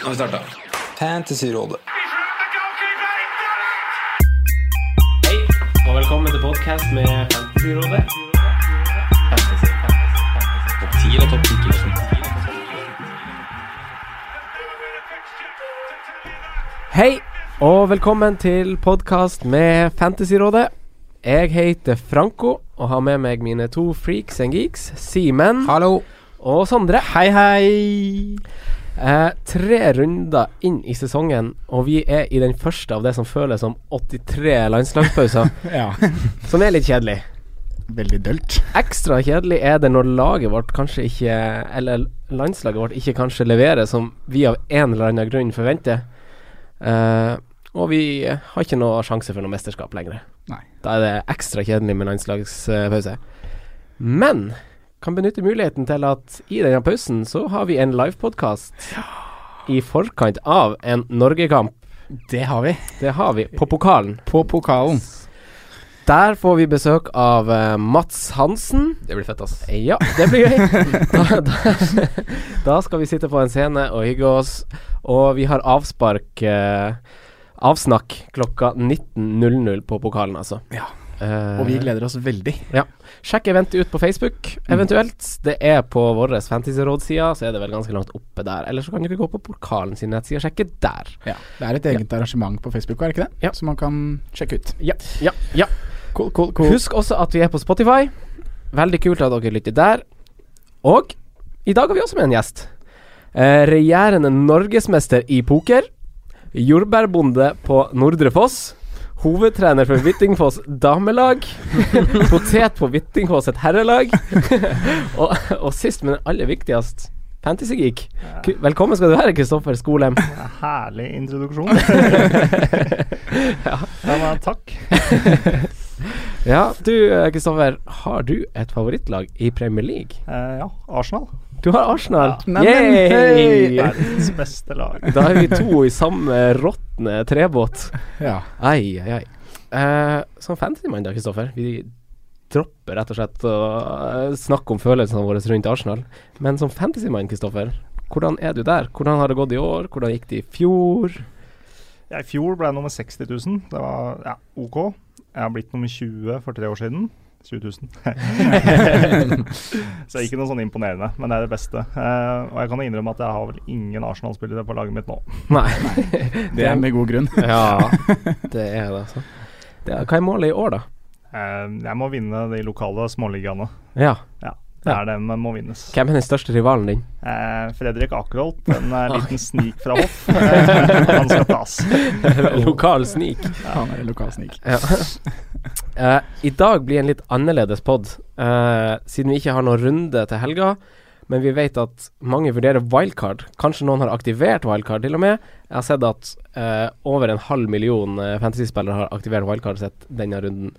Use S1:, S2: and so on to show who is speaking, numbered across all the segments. S1: Nå har vi starta. Fantasyrådet.
S2: Hei, og velkommen til podcast med Fantasyrådet. Hei, og velkommen til podcast med Fantasyrådet. Jeg heter Franco, og har med meg mine to freaks and geeks, Simen
S1: Hallo.
S2: og Sondre. Hei, hei! Eh, tre runder inn i sesongen, og vi er i den første av det som føles som 83 landslagspauser,
S3: Ja,
S2: som er litt kjedelig.
S3: veldig dølt.
S2: Ekstra kjedelig er det når laget vårt kanskje ikke Eller landslaget vårt ikke kanskje leverer som vi av en eller annen grunn forventer. Eh, og vi har ikke noe sjanse for noe mesterskap lenger.
S3: Nei.
S2: Da er det ekstra kjedelig med landslagspause. Men kan benytte muligheten til at i denne pausen så har vi en livepodkast i forkant av en Norgekamp.
S3: Det har vi.
S2: Det har vi på pokalen.
S3: På pokalen.
S2: Der får vi besøk av eh, Mats Hansen.
S1: Det blir fett, ass.
S2: Ja, det blir gøy. Da, da, da skal vi sitte på en scene og hygge oss. Og vi har avspark eh, Avsnakk klokka 19.00 på pokalen, altså.
S3: Ja.
S2: Eh,
S3: Og vi gleder oss veldig.
S2: Sjekk eventet ut på Facebook,
S3: Mm.
S2: eventuelt. Det er på vår fantasyrådside, så er det vel ganske langt oppe der. Eller så kan dere gå på pokalen sin nettside og sjekke der.
S3: Det er et eget arrangement på Facebook, er det ikke det?
S2: Ja.
S3: Som man kan sjekke ut.
S2: Ja, ja, ja.
S3: Cool, cool,
S2: Husk også at vi er på Spotify. Veldig kult at dere lytter der. Og i dag har vi også med en gjest. Eh, regjerende norgesmester i poker. Jordbærbonde på Nordre Foss. Hovedtrener for Hvittingfoss damelag. Potet på Hvittingfoss et herrelag. og, og sist, men aller viktigst, Fantasygeek. K- Velkommen skal du være, Kristoffer Skolem.
S4: Herlig introduksjon. ja, men takk.
S2: Ja, du eh, Kristoffer, har du et favorittlag i Premier League?
S4: Eh, ja, Arsenal.
S2: Du har Arsenal.
S3: Ja. Neimen, hei!
S2: Yay!
S4: Verdens beste lag.
S2: Da er vi to i samme råtne trebåt.
S3: Ja.
S2: Ai, ai, ai. Eh, som fantasymann da, Kristoffer. Vi dropper rett og slett å eh, snakke om følelsene våre rundt Arsenal. Men som fantasymann, Kristoffer, hvordan er du der? Hvordan har det gått i år? Hvordan gikk det i fjor?
S4: Ja, I fjor ble jeg nummer 60 000. Det var ja, OK. Jeg har blitt nummer 20 for tre år siden. 20 000. Så ikke noe sånn imponerende, men det er det beste. Eh, og jeg kan jo innrømme at jeg har vel ingen Arsenal-spillere på laget mitt nå.
S2: Nei.
S3: Det er med god grunn.
S2: Ja, det er det, altså. Det er, hva er målet i år, da?
S4: Eh, jeg må vinne de lokale småligaene.
S2: Ja.
S4: Det er den må vinnes.
S2: Hvem er den største rivalen din?
S4: Eh, Fredrik Akerholt, en eh, liten snik fra hoff. Eh, han skal tas.
S2: Lokal snik.
S3: Han er lokalsnik.
S2: Ja. Eh, I dag blir en litt annerledes pod, eh, siden vi ikke har noen runde til helga. Men vi vet at mange vurderer wildcard. Kanskje noen har aktivert wildcard, til og med. Jeg har sett at eh, over en halv million eh, fantasyspillere har aktivert wildcardet sitt denne runden.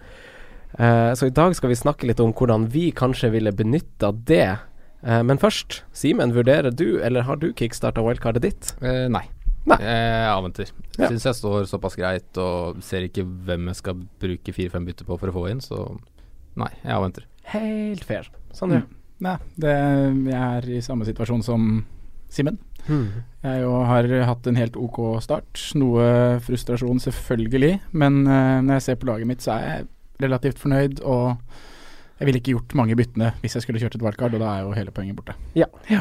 S2: Eh, så i dag skal vi snakke litt om hvordan vi kanskje ville benytta det. Eh, men først, Simen, vurderer du, eller har du kickstarta wildcardet ditt?
S5: Eh, nei.
S2: Nei.
S5: Jeg avventer.
S2: Ja.
S5: Jeg Syns jeg står såpass greit og ser ikke hvem jeg skal bruke fire-fem bytter på for å få inn, så nei, jeg avventer.
S2: Helt fair. Sånn, Sondre?
S3: Nei, det, jeg er i samme situasjon som Simen.
S2: Hmm.
S3: Jeg jo har hatt en helt ok start. Noe frustrasjon, selvfølgelig. Men eh, når jeg ser på laget mitt, så er jeg relativt fornøyd. Og jeg ville ikke gjort mange byttene hvis jeg skulle kjørt et wildcard, og da er jo hele poenget borte.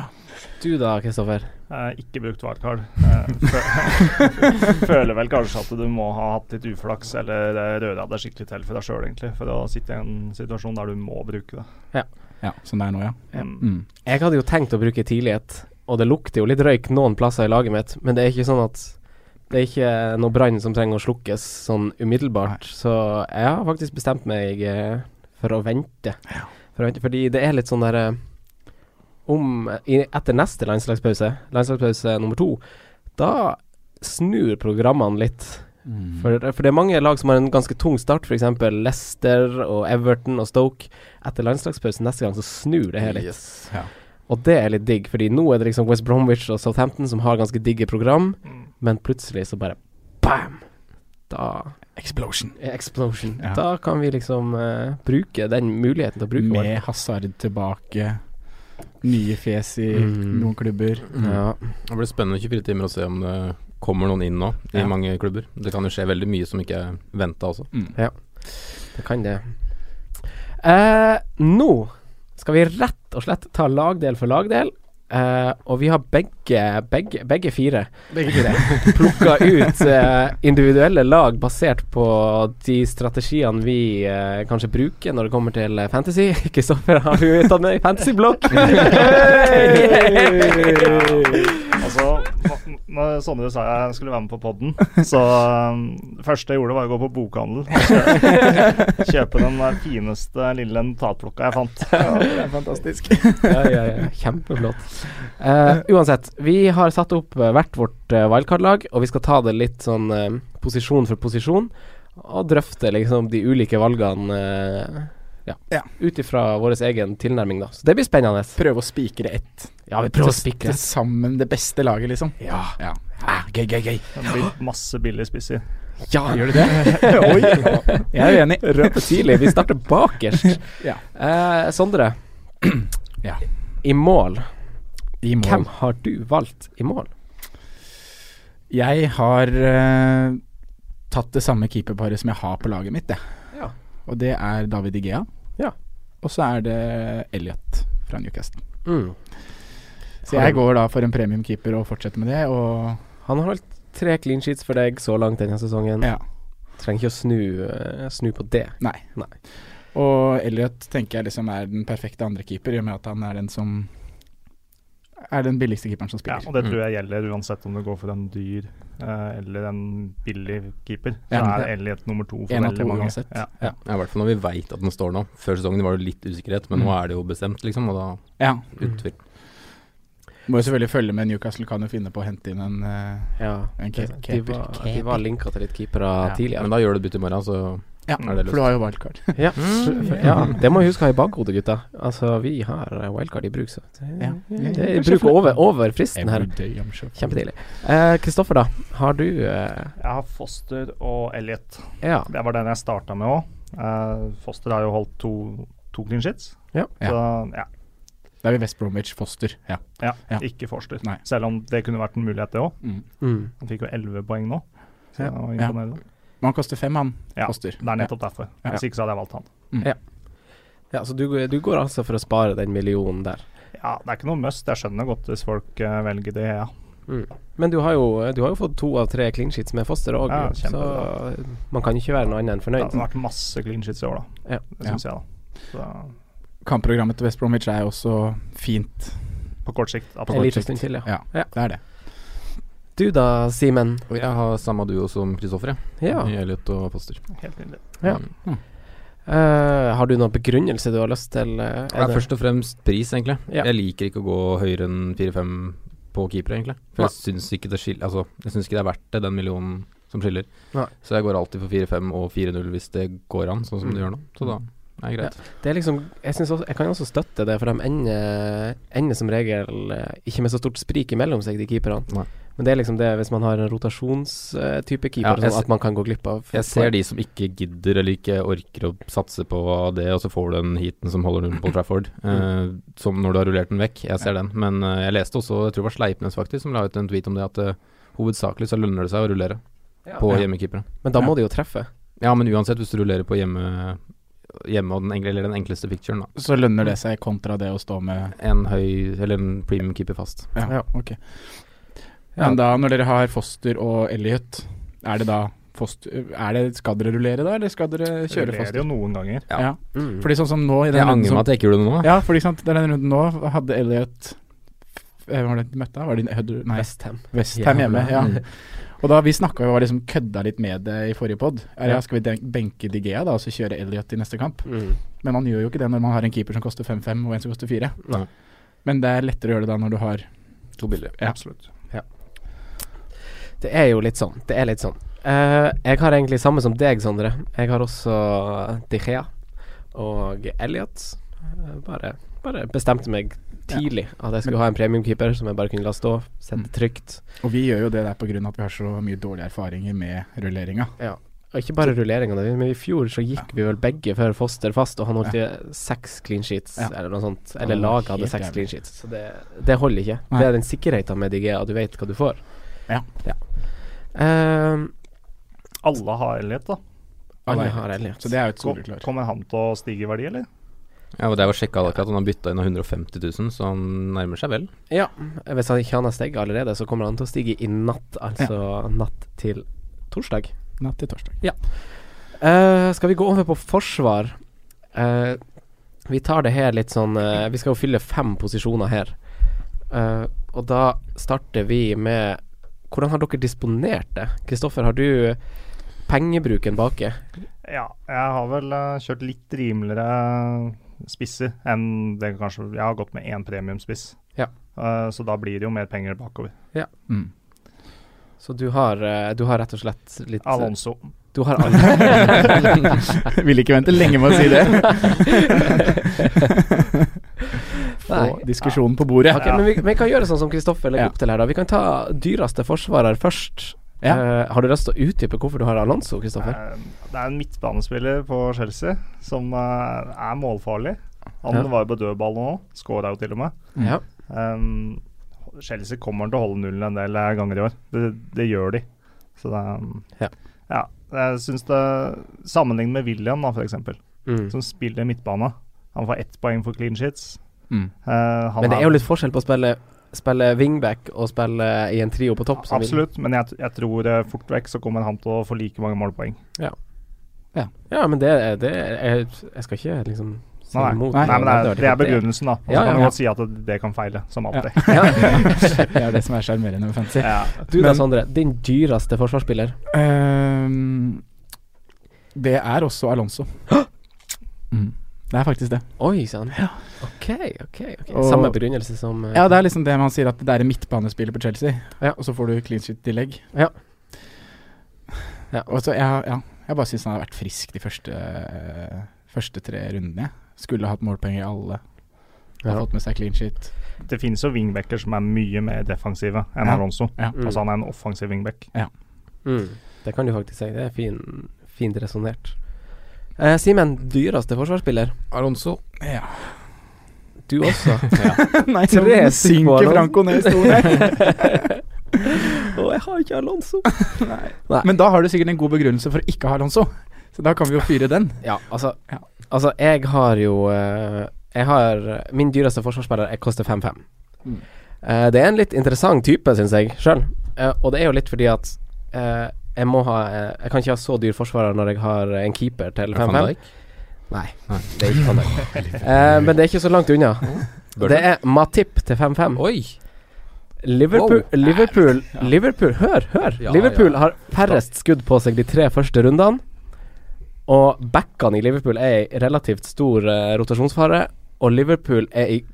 S2: Du da, Kristoffer?
S4: Eh, ikke brukt wildcard. Eh, fø- føler vel kanskje at du må ha hatt litt uflaks eller eh, røra deg skikkelig til for deg sjøl, egentlig, for å sitte i en situasjon der du må bruke det.
S3: Ja, sånn det er nå, ja.
S4: Mm.
S3: Mm.
S2: Jeg hadde jo tenkt å bruke tidlighet, og det lukter jo litt røyk noen plasser i laget mitt, men det er ikke sånn at det er ikke noe brann som trenger å slukkes sånn umiddelbart. Så jeg har faktisk bestemt meg eh, for å vente. For å vente fordi det er litt sånn derre om i, Etter neste landslagspause, landslagspause nummer to, da snur programmene litt.
S3: Mm.
S2: For, for det er mange lag som har en ganske tung start, f.eks. Leicester og Everton og Stoke. Etter landslagspausen neste gang så snur det hele litt.
S5: Yes.
S2: Og det er litt digg, fordi nå er det liksom West Bromwich og Southampton som har ganske digge program,
S4: Mm.
S2: men plutselig så bare bam! Da
S3: Explosion.
S2: er explosion.
S3: Ja.
S2: Da kan vi liksom eh, bruke den muligheten til å bruke
S3: Med Hazard tilbake, nye fjes i
S2: Mm.
S3: noen klubber.
S2: Ja.
S5: Det blir spennende 24 timer å se om det kommer noen inn nå, i
S3: Ja.
S5: mange klubber. Det kan jo skje veldig mye som ikke er venta også.
S3: Mm.
S2: Det kan det. Eh, nå skal vi rett og slett ta lagdel for lagdel. Eh, og vi har begge, begge, begge fire
S3: Begge fire.
S2: plukka ut eh, individuelle lag basert på de strategiene vi eh, kanskje bruker når det kommer til eh, fantasy. Kristoffer har du tatt med i fantasyblokk?
S4: Altså, n- når Sondre sa jeg skulle være med på podden, så um, det første jeg gjorde, var å gå på bokhandel og kjø- kjøpe den der fineste lille notatblokka jeg fant.
S3: Det er fantastisk.
S2: ja, ja, ja. Kjempeflott. Eh, uansett, vi har satt opp eh, hvert vårt eh, wildcard-lag, og vi skal ta det litt sånn eh, posisjon for posisjon, og drøfte liksom de ulike valgene eh, ja,
S3: Ja.
S2: ut ifra vår egen tilnærming, da. Så det blir spennende.
S3: Prøve å spikre ett.
S2: Ja, vi prøver å
S3: Til
S2: spikre.
S3: sammen det beste laget, liksom.
S2: Ja.
S3: Ja.
S2: Ah, gøy, gøy, gøy.
S4: Det blir masse billig spisser.
S2: Ja,
S3: Gjør du det? Oi! Jeg er uenig.
S2: røpe tidlig. Vi starter bakerst.
S3: Ja.
S2: Eh, Sondre.
S3: Ja.
S2: I mål.
S3: I mål.
S2: Hvem har du valgt i mål?
S3: Jeg har eh, tatt det samme keeperparet som jeg har på laget mitt, jeg.
S2: Ja.
S3: Og det er David Igea.
S2: Ja.
S3: Og så er det Elliot fra Newcastle.
S2: Mm.
S3: Så jeg går da for en premiumkeeper og fortsetter med det, og
S2: Han har holdt tre clean sheets for deg så langt denne sesongen.
S3: ja.
S2: Trenger ikke å snu, eh, snu på det.
S3: Nei.
S2: Nei.
S3: Og Elliot tenker jeg liksom er den perfekte andrekeeper, i og med at han er den som er den billigste keeperen som
S4: Ja,
S3: spiller.
S4: og det tror jeg gjelder uansett om du går for en dyr eh, eller en billig keeper. Så
S3: Ja.
S4: er Elliot nummer to for
S3: En av to
S4: veldig mange.
S3: uansett.
S4: Ja.
S5: Ja, I hvert fall når vi veit at den står nå. Før sesongen var det litt usikkerhet, men nå
S2: Mm.
S5: er det jo bestemt, liksom. Og da
S3: Ja.
S5: utvir.
S3: Må jo selvfølgelig følge med. Newcastle kan jo finne på å hente inn en, eh,
S2: Ja.
S3: en
S2: De,
S3: ke-
S2: de,
S3: keeper.
S2: var, de var linka til litt keepere
S3: Ja, Mm.
S2: tidligere.
S5: Men da gjør du bytte i morgen, så
S3: Ja,
S5: er det
S3: for du har jo wildcard.
S2: Ja.
S3: Mm.
S2: ja, det må vi huske å ha i bakhodet, gutta. Altså, vi har eh, wildcard i bruk, så det,
S3: Ja. Ehm.
S2: det er i bruk over, over fristen her.
S3: Everyday, I'm sure.
S2: Kjempedeilig. Eh, Kristoffer, da. Har du eh,
S4: Jeg har Foster og Elliot.
S2: Ja.
S4: Det var den jeg starta med òg. Foster har jo holdt to, to clean sheets.
S2: Ja.
S4: Så ja,
S3: Da er vi West Bromwich Foster. Ja.
S4: ja,
S3: Ja.
S4: ikke Forster.
S3: Nei.
S4: Selv om det kunne vært en mulighet, det òg.
S3: Mm.
S2: Mm.
S4: Han fikk jo 11 poeng nå. Så
S3: Ja.
S4: det var
S3: Ja.
S4: imponerende.
S3: Men han koster fem, han.
S4: Ja,
S3: Foster.
S4: Det er nettopp derfor.
S3: Ja.
S4: Hvis ikke så hadde jeg valgt han.
S2: ja, så du, du går altså for å spare den millionen der.
S4: Ja, Det er ikke noe must. Jeg skjønner godt hvis folk eh, velger det. Ja.
S2: Men du har, jo, du har jo fått to av tre clean sheets med Foster òg,
S4: Ja,
S2: så
S4: kjempebra.
S2: man kan ikke være noe annet enn
S4: Det
S2: fornøyd.
S4: har vært masse clean sheets i år, da.
S2: Ja.
S4: Det syns jeg, da.
S3: Kampprogrammet til West Bromwich er jo også fint.
S4: Så, på kort sikt,
S2: En
S4: absolutt.
S2: liten stund til, ja.
S3: Ja,
S2: Ja.
S3: det er det.
S2: Du da, Simen.
S5: Og jeg har samme duo som Kristoffer, jeg.
S2: Ja.
S5: Elliot og Foster.
S4: Helt nydelig.
S2: Ja.
S5: Mm.
S2: Eh, har du noen begrunnelse du har lyst til? eh, er
S5: Ja,
S2: det-
S5: først og fremst pris, egentlig.
S2: Ja.
S5: Jeg liker ikke å gå høyere enn 4-5 på keeper, egentlig. For jeg syns ikke det skil- Altså, jeg syns ikke det er verdt det, den millionen som skiller.
S2: Nei.
S5: Så jeg går alltid for 4-5 og 4-0 hvis det går an, sånn som
S2: Mm.
S5: det gjør nå. Så da er det greit.
S2: Det er liksom jeg, synes også, jeg kan også støtte det, for de ender, ender som regel eh, ikke med så stort sprik imellom seg, de keeperne.
S5: Nei.
S2: Men det er liksom det hvis man har en rotasjonstype keeper,
S5: Ja, jeg
S2: sånn at
S5: se-
S2: man kan gå glipp av
S5: Jeg ser de som ikke gidder eller ikke orker å satse på det, og så får du den heaten som holder nullen på Trafford, eh,
S2: Mm.
S5: som når du har rullert den vekk. Jeg ser den. Men eh, jeg leste også, jeg tror det var Sleipnes faktisk, som la ut en tweet om det, at eh, hovedsakelig så lønner det seg å rullere
S2: Ja.
S5: på
S2: Ja.
S5: hjemmekeepere.
S2: Men da må de jo treffe.
S5: Ja, men uansett, hvis du rullerer på hjemme, hjemme og den, enkle, eller den enkleste picturen, da.
S3: Så lønner det seg kontra det å stå med
S5: En høy Eller en premium keeper fast.
S3: Ja,
S2: Ja.
S3: ok.
S2: Ja.
S3: Men da, når dere har Foster og Elliot, er det da Foster er det, Skal dere rullere da, eller skal dere
S4: Det
S3: kjøre
S4: Rullerer
S3: Foster?
S4: jo noen ganger.
S5: Ja.
S3: Ja.
S2: Mm.
S3: Fordi sånn som nå i
S5: Jeg
S3: den runden
S5: angrer
S3: som,
S5: meg at jeg ikke gjorde det nå.
S3: Ja, fordi sant, den runden nå hadde Elliot eh, Hva var det de møtte? da? Var det Hudder- Nei,
S2: Westham.
S3: Westham hjemme.
S5: Jævla.
S3: Ja.
S5: Mm.
S3: Og da vi snakka og liksom kødda litt med det i forrige pod.
S2: Ja.
S3: Ja. Skal vi den- benke Digea da, og så kjøre Elliot i neste kamp?
S2: Mm.
S3: Men man gjør jo ikke det når man har en keeper som koster 5-5 og en som koster 4.
S5: Nei.
S3: Men det er lettere å gjøre det da når du har
S5: To bilder.
S3: Ja.
S4: Absolutt.
S2: Det er jo litt sånn. Det er litt sånn. Eh, jeg har egentlig samme som deg, Sondre. Jeg har også De Gea og Elliot. Eh, Bare, bare bestemte meg tidlig at jeg skulle ha en premiumkeeper som jeg bare kunne la stå, sette
S3: Mm.
S2: trygt.
S3: Og vi gjør jo det der pga. at vi har så mye dårlige erfaringer med rulleringa.
S2: og ikke bare rulleringene, men i fjor så gikk vi vel begge for Foster fast, og han holdt i seks clean sheets,
S3: Ja.
S2: eller noe sånt.
S3: Ja,
S2: Eller laget hadde
S3: helt
S2: seks
S3: jævlig.
S2: clean sheets. Så det, det holder ikke.
S3: Nei.
S2: Det er den sikkerheten med DG, at du vet hva du får.
S3: Ja.
S2: Ehm,
S4: Alle har elhet, da.
S2: alle
S3: Nei.
S2: har Elliot.
S3: Så det er jo et
S4: Kom-
S3: soleklar.
S4: Kommer han til å stige i verdi, eller?
S5: Ja, og det var sjekka akkurat, han har bytta inn av 150 000, så han nærmer seg vel.
S2: Ja, hvis han ikke han har steget allerede, så kommer han til å stige i natt, altså natt til torsdag.
S3: Natt til torsdag.
S2: Eh, skal vi gå over på forsvar? Eh, vi tar det her litt sånn eh, Vi skal jo fylle fem posisjoner her. Eh, og da starter vi med Hvordan har dere disponert det? Kristoffer, har du pengebruken baki?
S4: Ja, jeg har vel eh, kjørt litt rimeligere spisser enn det kanskje Jeg har gått med én premiumspiss,
S2: Ja.
S4: Eh, så da blir det jo mer penger bakover.
S3: Mm.
S2: Så du har, eh, du har rett og slett litt
S4: Alonso.
S2: Du har alt.
S3: Vil ikke vente lenge med å si det. Få
S2: Nei.
S3: diskusjonen på bordet.
S2: Ok, Men vi, vi kan gjøre sånn som Kristoffer legger
S3: Ja.
S2: opp til her, da. Vi kan ta dyreste forsvarer først.
S3: Ja.
S2: Eh, har du lyst til å utdype hvorfor du har Alonso, Kristoffer?
S4: Eh, Det er en midtbanespiller på Chelsea som eh, er målfarlig. Han
S2: Ja.
S4: var jo på dødball nå, skåra jo til og med.
S3: Mm.
S2: Ja.
S4: Um, Chelsea kommer til å holde nullen en del eh, ganger i år. Det, det gjør de. Så det um,
S2: Ja.
S4: ja. Jeg syns det Sammenlignet med William, da, for eksempel,
S2: Mm.
S4: som spiller midtbane. Han får ett poeng for clean sheets.
S3: Mm.
S4: Eh, han
S2: Men det er jo litt forskjell på å spille, spille wingback og spille i en trio på topp. som vi-
S4: Absolutt, men jeg, jeg tror eh, fort vekk så kommer han til å få like mange målpoeng.
S2: Ja, men det, er- det er, jeg skal ikke liksom si
S4: Nei,
S2: imot.
S4: nei, men det er,
S2: hadde vært
S4: det er
S2: helt-
S4: begrunnelsen, da. Og så
S2: Ja,
S4: kan
S2: ja,
S4: man
S2: ja.
S4: godt si at det, det kan feile, som
S3: Ja.
S4: alltid.
S2: Ja.
S3: Det er det som er sjarmerende med fantasy.
S4: Ja.
S2: Du da,
S3: Men-
S2: Sondre. Din dyreste forsvarsspiller.
S3: Ehm, det er også Alonso. Mm. Det er faktisk det.
S2: Oi sann. OK, ok. ok.
S3: Og-
S2: Samme begrunnelse som eh,
S3: Ja, det er liksom det man sier at det er en midtbanespiller på Chelsea,
S2: Ja.
S3: og så får du clean sheet-tillegg.
S2: Ja. Ja.
S3: Og så, ja, ja. Jeg bare syns han har vært frisk de første, eh, første tre rundene. jeg. Skulle hatt målpenger i alle. Har
S2: Ja.
S3: fått med seg clean sheet.
S4: Det finnes jo wingbacker som er mye mer defensive enn
S3: Ja.
S4: Alonso.
S3: Ja.
S2: Mm.
S4: Altså han er en offensiv wingback.
S2: Mm, det kan du faktisk si. Det er fin, fint resonnert. Eh, Simen, dyreste forsvarsspiller.
S5: Alonso.
S3: ja.
S2: Du også.
S3: Nei,
S2: nå Tre stykk på synker Alonso. Franco
S3: ned i stolen.
S2: Og jeg har ikke Alonso.
S3: Men da har du sikkert en god begrunnelse for å ikke ha Alonso. Så da kan vi jo fyre den.
S2: Ja, altså,
S3: Ja.
S2: altså jeg har jo eh, jeg har, Min dyreste forsvarsspiller er- koster 5-5.
S3: Mm.
S2: Eh, det er en litt interessant type, syns jeg sjøl. og det er jo litt fordi at eh, jeg må ha eh, Jeg kan ikke ha så dyr forsvarer når jeg har en keeper til 5-5. Nei,
S5: Nei.
S2: det er ikke Van Dijk. Eh, men det er ikke så langt unna. Det er Matip til 5-5.
S5: Oi!
S2: Liverpool, Liverpool, Liverpool Hør, hør!
S5: Ja,
S2: Liverpool
S5: ja.
S2: har færrest skudd på seg de tre første rundene. Og backene i Liverpool er i relativt stor eh, rotasjonsfare. Og Liverpool er i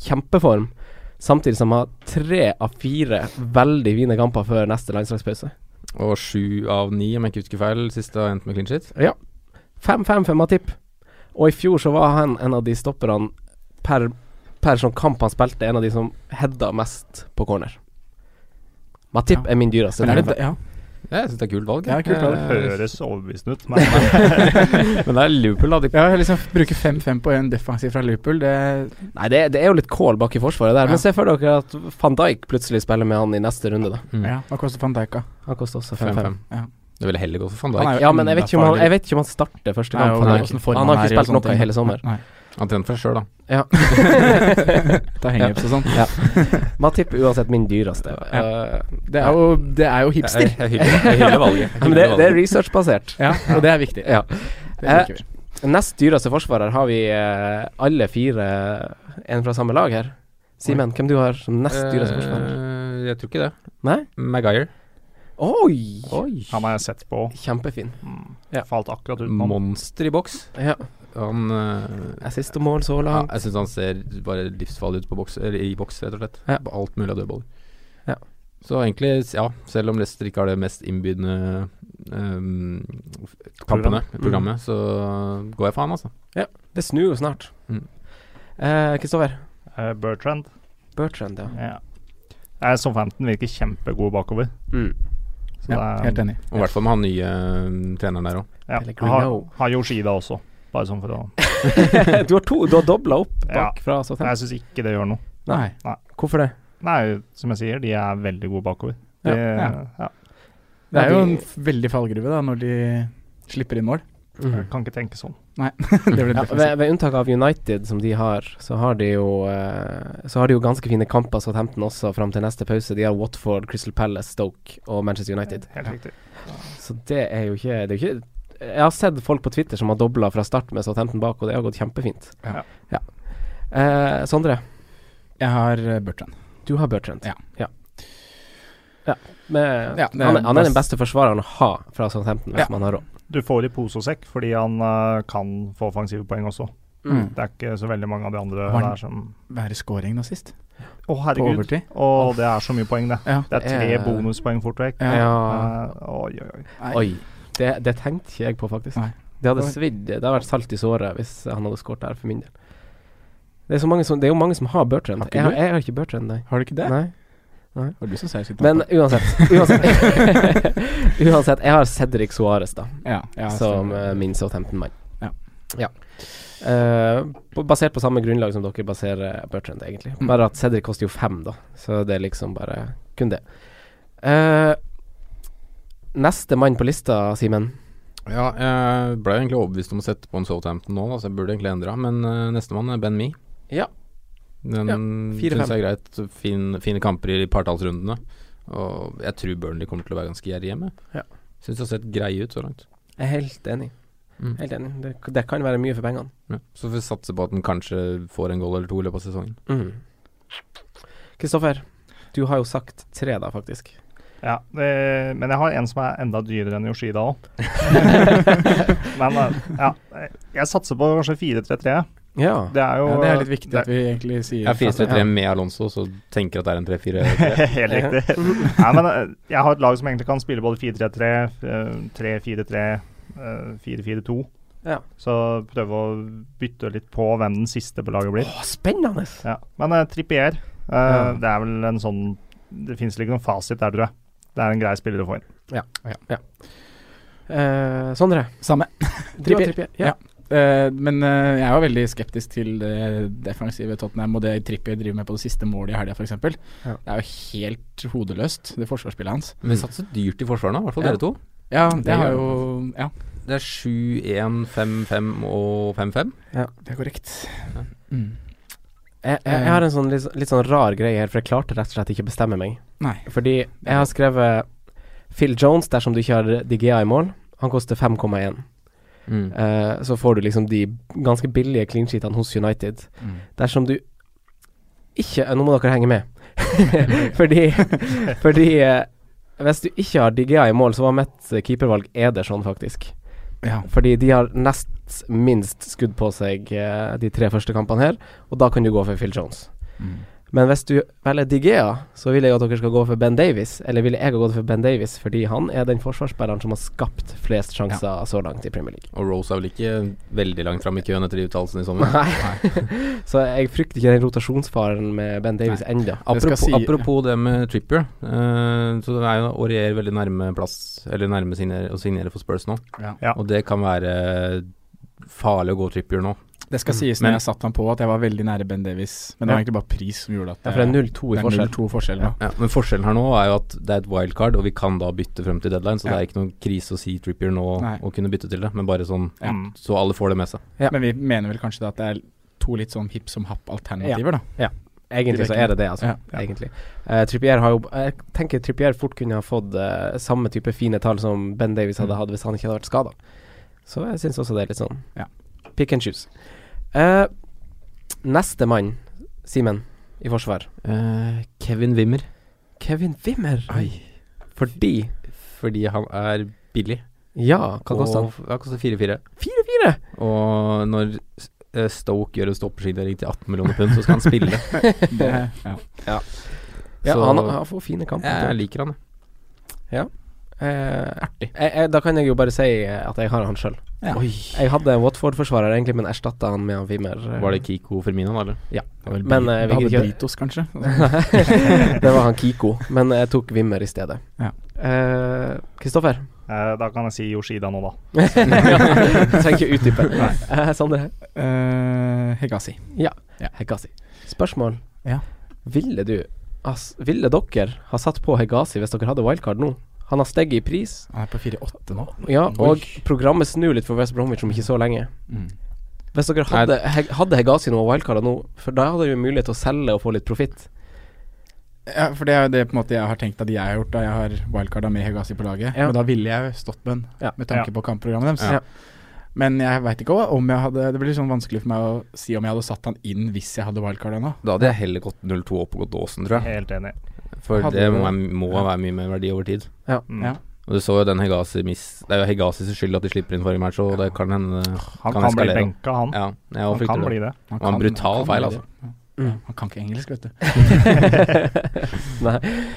S2: kjempeform, samtidig som de har tre av fire veldig fine kamper før neste landslagspause.
S5: Og sju av ni, om jeg ikke husker feil, siste har endt med clean sheet.
S2: 5-5 for Matip. Og i fjor så var han en av de stopperne per, per sånn kamp han spilte, en av de som heada mest på corner. Matip
S3: Ja.
S2: er min dyreste.
S3: Men er det, ja.
S5: Ja, jeg syns det er kult valg.
S3: Ja, kult valg.
S4: Det
S5: Eh,
S4: høres overbevisende ut, men
S5: Men det er Liverpool, da. De
S3: ja, liksom bruke 5-5 på en defensiv fra Liverpool, det
S2: Nei, det, det er jo litt kål bak i forsvaret der.
S3: Ja.
S2: Men se for dere at van Dijk plutselig spiller med han i neste runde, da.
S5: Mm.
S3: ja. Hva koster van Dijk, da?
S2: Han koster også
S5: 5-5.
S2: 5-5.
S3: Ja.
S5: Det ville heller gått for van
S3: Han
S5: Dijk.
S3: er jo
S2: Ja, men jeg vet, ikke om han,
S3: farlig.
S2: jeg vet ikke om han starter første
S3: Nei,
S2: kamp.
S3: og
S2: Han,
S3: det er
S2: har
S3: hvordan
S2: ikke-
S3: form
S2: han har
S3: er i
S2: ikke
S3: og
S2: spilt
S3: sånne
S2: noe i
S3: ting.
S2: hele sommer.
S3: Nei.
S5: Han trente for seg sjøl, da.
S2: Ja.
S3: Ta hangups og sånn.
S2: Matip uansett min dyreste.
S3: Ja.
S2: Eh,
S3: Det er jo, det er jo hipster.
S5: Jeg, jeg, hyller- jeg hyller valget. Jeg
S2: men
S5: hyller
S2: det, det er
S5: valget.
S2: researchbasert.
S3: Ja, og det er viktig.
S2: Ja.
S3: Det liker vi.
S2: Nest dyreste forsvarer har vi eh, alle fire eh, en fra samme lag her. Simen, hvem du har som nest dyreste forsvarer?
S5: Eh, Jeg tror ikke det.
S2: Nei?
S5: Maguire.
S2: Oi!
S4: han har jeg sett på.
S2: Kjempefin.
S4: Mm.
S2: Ja.
S4: Falt akkurat utenom.
S5: Monster i boks.
S2: Ja.
S5: Han eh,
S2: Assist og mål så
S5: ja,
S2: langt.
S5: Jeg syns han ser bare livsfarlig ut på boks, eller i boks, rett og slett.
S2: Ja.
S5: På alt mulig av dødballer.
S2: Ja.
S5: Så egentlig, ja, selv om Leicester ikke har det mest innbydende um, kampene,
S2: Program.
S5: programmet, så går jeg for han, altså.
S2: Det snur jo snart.
S5: Mm.
S2: Eh, Kristoffer.
S4: Eh, Bertrand.
S2: Bertrand, ja.
S4: Ja. Eh, Southampton virker kjempegod bakover. Så
S3: Ja,
S4: det er-
S3: helt enig.
S5: Og I hvert fall med han nye eh, treneren der òg.
S4: Ja.
S2: Eller
S4: Har,
S2: Greeno.
S4: har Yoshida også, bare sånn for å
S2: du har to, du har dobla opp
S4: Ja.
S2: bak fra Southampton.
S4: Jeg syns ikke det gjør noe.
S3: Nei.
S2: Hvorfor det?
S4: Nei, som jeg sier, de er veldig gode bakover. De,
S2: Ja,
S4: ja,
S3: ja. Det
S2: Ja,
S3: er jo en
S2: de-
S3: f- veldig fallgruve da, når de slipper inn mål.
S2: Mhm. Mm.
S4: Jeg kan ikke tenke sånn.
S3: det blir
S2: Ja,
S3: defensivt.
S2: ved, ved unntak av United, som de har, så har de jo, eh, så har de jo ganske fine kamper Southampton også fram til neste pause. De har Watford, Crystal Palace, Stoke og Manchester United.
S4: Helt riktig.
S2: Så det er jo ikke, det er jo ikke Jeg har sett folk på Twitter som har dobla fra start med Southampton bak, og det har gått kjempefint.
S3: Ja.
S2: Ja. Eh, Sondre,
S3: Jeg har eh, Bertrand.
S2: du har Bertrand.
S3: Ja.
S2: ja. Ja, med,
S3: Ja, det er
S2: han, er, han er den
S3: best-
S2: beste forsvareren å ha fra Southampton, hvis
S3: Ja.
S2: man har råd.
S4: Du får i pose og sekk fordi han eh, kan få offensive poeng også.
S3: Mm.
S4: Det er ikke så veldig mange av de andre
S3: Var han-
S4: der som
S3: Være scoring nå sist,
S4: Å,
S3: på
S4: herregud.
S3: overtid.
S4: Og det er så mye poeng, det.
S3: Ja.
S4: Det er tre
S2: Eh.
S4: bonuspoeng fort vekk.
S3: Ja.
S2: Ja.
S4: Eh, oi, oi, oi.
S3: Nei.
S2: Oi. Det, det tenkte ikke jeg på, faktisk.
S3: Nei.
S2: Det hadde
S3: Oi.
S2: svidd. Det hadde vært salt i såret hvis han hadde skåret der, for min del. Det er, så mange som, det er jo mange som har Bertrand.
S3: Har ikke
S2: Jeg,
S3: du?
S2: har- jeg har ikke Bertrand, nei.
S3: Har du ikke det?
S2: nei.
S3: Var det du som sa jeg skulle ta
S2: Men
S3: den på?
S2: uansett. Uansett, uansett jeg har Cedric Suárez, da,
S3: ja, ja,
S2: som
S3: stemmer.
S2: eh, min Southampton-mann.
S3: Ja.
S2: Ja. Eh, på- basert på samme grunnlag som dere baserer Bertrand, egentlig.
S3: Mm.
S2: Bare at Cedric koster jo fem, da. Så det er liksom bare kun det. Eh, neste mann på lista, Simen.
S5: Ja, jeg ble jo egentlig overbevist om å sette på en Southampton nå, da, så jeg burde egentlig endra. Men eh, nestemann er Ben Me.
S2: Ja.
S5: Den
S2: Ja,
S5: synes
S2: fire-fem.
S5: syns jeg er greit. Fin, fine kamper i partallsrundene. Og jeg tror Burnley kommer til å være ganske gjerrig hjemme.
S2: Ja.
S5: Syns det har sett greie ut så langt.
S2: Jeg er helt enig.
S5: Mm.
S2: Helt enig. Det, det kan være mye for pengene.
S5: Ja. Så får vi satse på at den kanskje får en goal eller to i løpet av sesongen.
S3: Mm.
S2: Kristoffer, du har jo sagt tre, da, faktisk.
S4: Ja, det, men jeg har en som er enda dyrere enn Yoshida òg. men eh, ja, jeg satser på kanskje 4-3-3.
S2: Ja.
S4: Det er jo
S3: ja, Det er litt viktig
S4: det-
S3: at vi egentlig sier
S5: Jeg er 4-3-3
S3: Ja.
S5: med Alonso, så tenker at det er en 3-4-3.
S4: Helt riktig. Nei, men eh, jeg har et lag som egentlig kan spille både 4-3-3, eh, 3-4-3, eh, 4-4-2.
S2: Ja.
S4: Så prøve å bytte litt på hvem den siste på laget blir.
S2: Å, spennende!
S4: Ja. Men eh, Trippier, eh,
S2: Ja.
S4: det er vel en sånn Det finnes vel ikke noen fasit der, tror jeg. Det er en grei spiller å få inn.
S2: Eh, Sondre,
S3: Samme.
S2: du har
S3: Trippier.
S2: trippier. Ja.
S3: Ja. Eh, men eh, jeg var veldig skeptisk til det defensive Tottenham og det Trippier driver med på det siste målet i helga, f.eks.
S2: Ja.
S3: Det er jo helt hodeløst, det forsvarsspillet hans.
S5: Men vi satser dyrt i forsvaret nå, i hvert fall
S3: Ja.
S5: dere to.
S3: Ja,
S5: Det
S3: det har
S5: gjør
S3: jo Ja,
S5: Det er 7-1, 5-5 og 5-5.
S3: det er korrekt.
S5: Ja.
S3: Mm.
S2: Jeg, jeg, jeg har en sånn litt, sånn- litt sånn rar greie her, for jeg klarte rett og slett ikke å bestemme meg.
S3: Nei.
S2: Fordi jeg har skrevet Phil Jones dersom du ikke har DGA i mål. Han koster 5,1.
S5: Mm.
S2: Eh, så får du liksom de ganske billige clean sheetene hos United. Dersom du ikke eh, Nå må dere henge med. fordi fordi eh, hvis du ikke har Digea i mål, så var mitt eh, keepervalg Ederson, faktisk.
S3: Ja.
S2: Fordi de har nest minst skudd på seg eh, de tre første kampene her, og da kan du gå for Phil Jones.
S3: Mm.
S2: Men hvis du velger Digea, så vil jeg at dere skal gå for Ben Davies. Eller ville jeg ha gått for Ben Davies, fordi han er den forsvarsspilleren som har skapt flest sjanser så langt i Premier League.
S5: Og Rose er vel ikke veldig langt fram i køen etter de uttalelsene i sommer.
S2: Nei. så jeg frykter ikke den rotasjonsfaren med Ben Davies ennå.
S3: Det skal
S5: Apropos,
S3: si-
S5: apropos det med Trippier, eh, så det er jo Aurier veldig nærme plass, eller nærme signere, å signere for Spurs nå.
S3: Ja.
S4: Ja.
S5: Og det kan være farlig å gå Trippier nå.
S3: Det skal sies
S5: Men-
S3: når jeg satte han på at jeg var veldig nære Ben Davies, men det var
S2: Ja.
S3: egentlig bare pris som gjorde at
S2: Ja, for det er 0-2 i
S3: Eh, det er
S2: forskjell.
S3: 0-2 forskjell nå.
S5: Ja, men forskjellen her nå er jo at det er et wildcard, og vi kan da bytte frem til deadline, så
S3: Ja.
S5: det er ikke noen krise å si Trippier nå
S3: Nei.
S5: og kunne bytte til det, men bare sånn
S3: Ja.
S4: Mm.
S5: så alle får det med seg.
S2: Ja.
S3: Men vi mener vel kanskje da at det er to litt sånn hipp som happ-alternativer, da.
S2: Egentlig så er det det, altså.
S3: Ja,
S4: ja.
S2: Egentlig. Eh, Trippier har jo Jeg tenker Trippier fort kunne ha fått eh, samme type fine tall som Ben Davies hadde
S3: Mm.
S2: hatt hvis han ikke hadde vært skada. Så jeg syns også det er litt sånn
S3: Ja.
S2: pick and choose. Eh, neste mann, Simen, i forsvar.
S5: Eh, Kevin Wimmer,
S2: Kevin Wimmer. Fordi
S5: fordi han er billig.
S2: Ja, hva koster han?
S5: og- Ja, koster 4-4.
S2: 4-4!
S5: Og når eh, Stoke gjør en stoppeskillering til 18 millioner pund, så skal han spille.
S3: Det, ja.
S2: Ja,
S5: Så-
S2: han, han får fine kamper.
S5: Jeg liker han, jeg.
S2: Eh,
S3: eh, artig.
S2: Jeg, jeg, da kan jeg jo bare si at jeg har han sjøl.
S3: Ja.
S2: Jeg hadde en Watford-forsvarer egentlig, men erstatta han med han Wimmer. eh,
S5: Var det Kiko Firmino, da, eller?
S2: Ja.
S5: Det var vel
S2: Men eh,
S3: Da
S2: vi
S3: hadde
S2: gidder ikke-
S3: Britos, kanskje. Altså,
S2: det var han Kiko, men jeg tok Wimmer i stedet.
S3: Ja.
S2: Eh, Kristoffer?
S4: Eh, da kan jeg si Yoshida nå, da.
S2: Jeg trenger ikke utdype. Eh, Sondre?
S3: Eh, Hegasi.
S2: Hegasi. Spørsmål?
S3: Ja.
S2: Ville du ass, Ville dere ha satt på Hegasi hvis dere hadde wildcard nå? Han har steget i pris,
S3: Han er på 4-8 nå.
S2: ja, og
S3: Oi.
S2: programmet snur litt for West Bromwich om ikke så lenge.
S3: Mm.
S2: Hvis dere hadde, He- hadde Hegasi nå og wildcarda nå, for da hadde dere jo mulighet til å selge og få litt profitt.
S3: Ja, for det er jo det på en måte jeg har tenkt at jeg har gjort da jeg har wildcarda med Hegasi på laget.
S2: Ja.
S3: Men da ville jeg jo stått med den,
S2: Ja.
S3: med tanke på kampprogrammet deres.
S2: Ja.
S3: Men jeg veit ikke om jeg hadde Det blir litt sånn vanskelig for meg å si om jeg hadde satt han inn hvis jeg hadde wildcarda nå.
S5: Da hadde jeg heller gått 0-2 opp og gått Aasen, tror jeg.
S4: Helt enig.
S5: For
S3: Hadde
S5: det
S3: du-
S5: må, være- må være mye mer verdi over tid.
S4: Mm.
S3: Ja.
S5: Og du så jo den Hegasi miss Det er jo Hegasis skyld at de slipper inn forrige match, og det kan hende
S4: Han
S5: Kan
S4: kan, bli
S5: eskalere.
S4: benka, han.
S5: Ja, jeg
S4: han
S5: også
S4: kan
S5: frykter
S4: bli
S5: det.
S4: det.
S3: Han
S5: Det var en brutal
S3: han
S5: feil,
S3: bli det. Ja. Han kan ikke engelsk, vet du.
S2: Nei.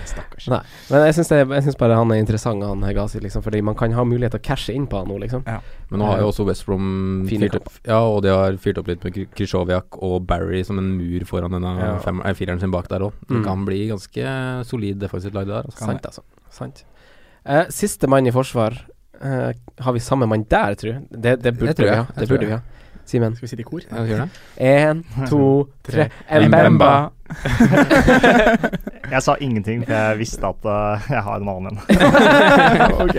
S3: Stakkars.
S2: Nei, men jeg syns, det, jeg syns bare han er interessant, han Hegazi, liksom, fordi man kan ha mulighet til å cashe inn på han nå, liksom.
S5: Men nå har jo også West Brom
S2: Fine
S5: fyrt opp, ja, og de har fyrt opp litt med Kri- Krychowiak og Barry som en mur foran denne
S2: Ja.
S5: fem- eh, fireren sin bak der òg. Det
S2: Mm.
S5: kan bli ganske solid defensivt lag det der. Altså.
S3: Kan
S2: Sant, altså. Sant. Eh, siste mann i forsvar. Eh, har vi samme mann der, tru? Det, det burde
S5: Det tror jeg.
S2: vi ha.
S5: Jeg
S2: Det
S5: tror
S2: burde vi ha. Simen.
S3: Skal vi sitte i kor?
S5: Ja, gjør det.
S2: Én, to, tre. Eh, Mbemba.
S5: Mbemba.
S4: Jeg sa ingenting, for jeg visste at eh, jeg har en annen en.
S3: ok.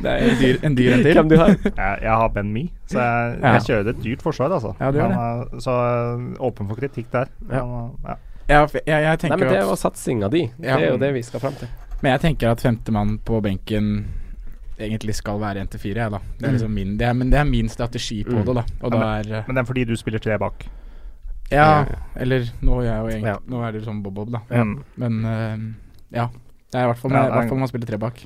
S3: Det er en dyr en, dyr en til.
S2: Hvem du har?
S4: Jeg, jeg har Ben Me, så jeg,
S3: Ja.
S4: jeg kjører et dyrt forsvar, altså.
S3: Ja, du gjør
S4: Men, eh, så eh, åpen for kritikk der.
S2: Ja.
S4: Men, eh, ja.
S3: Ja, for jeg, jeg
S2: Nei,
S3: tenker
S2: men det
S3: at-
S2: var satsinga di.
S3: Ja.
S2: Det er jo det vi skal fram til.
S3: Men jeg tenker at femtemann på benken egentlig skal være 1 til 4, jeg, da. Det er liksom min, det er, men det er min strategi på
S2: Mm.
S3: det, da. Og
S4: Mm. Ja,
S3: da er eh,
S4: Men det er fordi du spiller tre bak.
S3: Ja, eller nå er, jeg jo egentlig,
S2: Ja.
S3: nå er det sånn bob-bob, da.
S4: Mm.
S3: Men eh, ja. Det er i hvert fall
S4: Ja,
S3: i
S4: det er-
S3: hvert fall man spiller tre bak.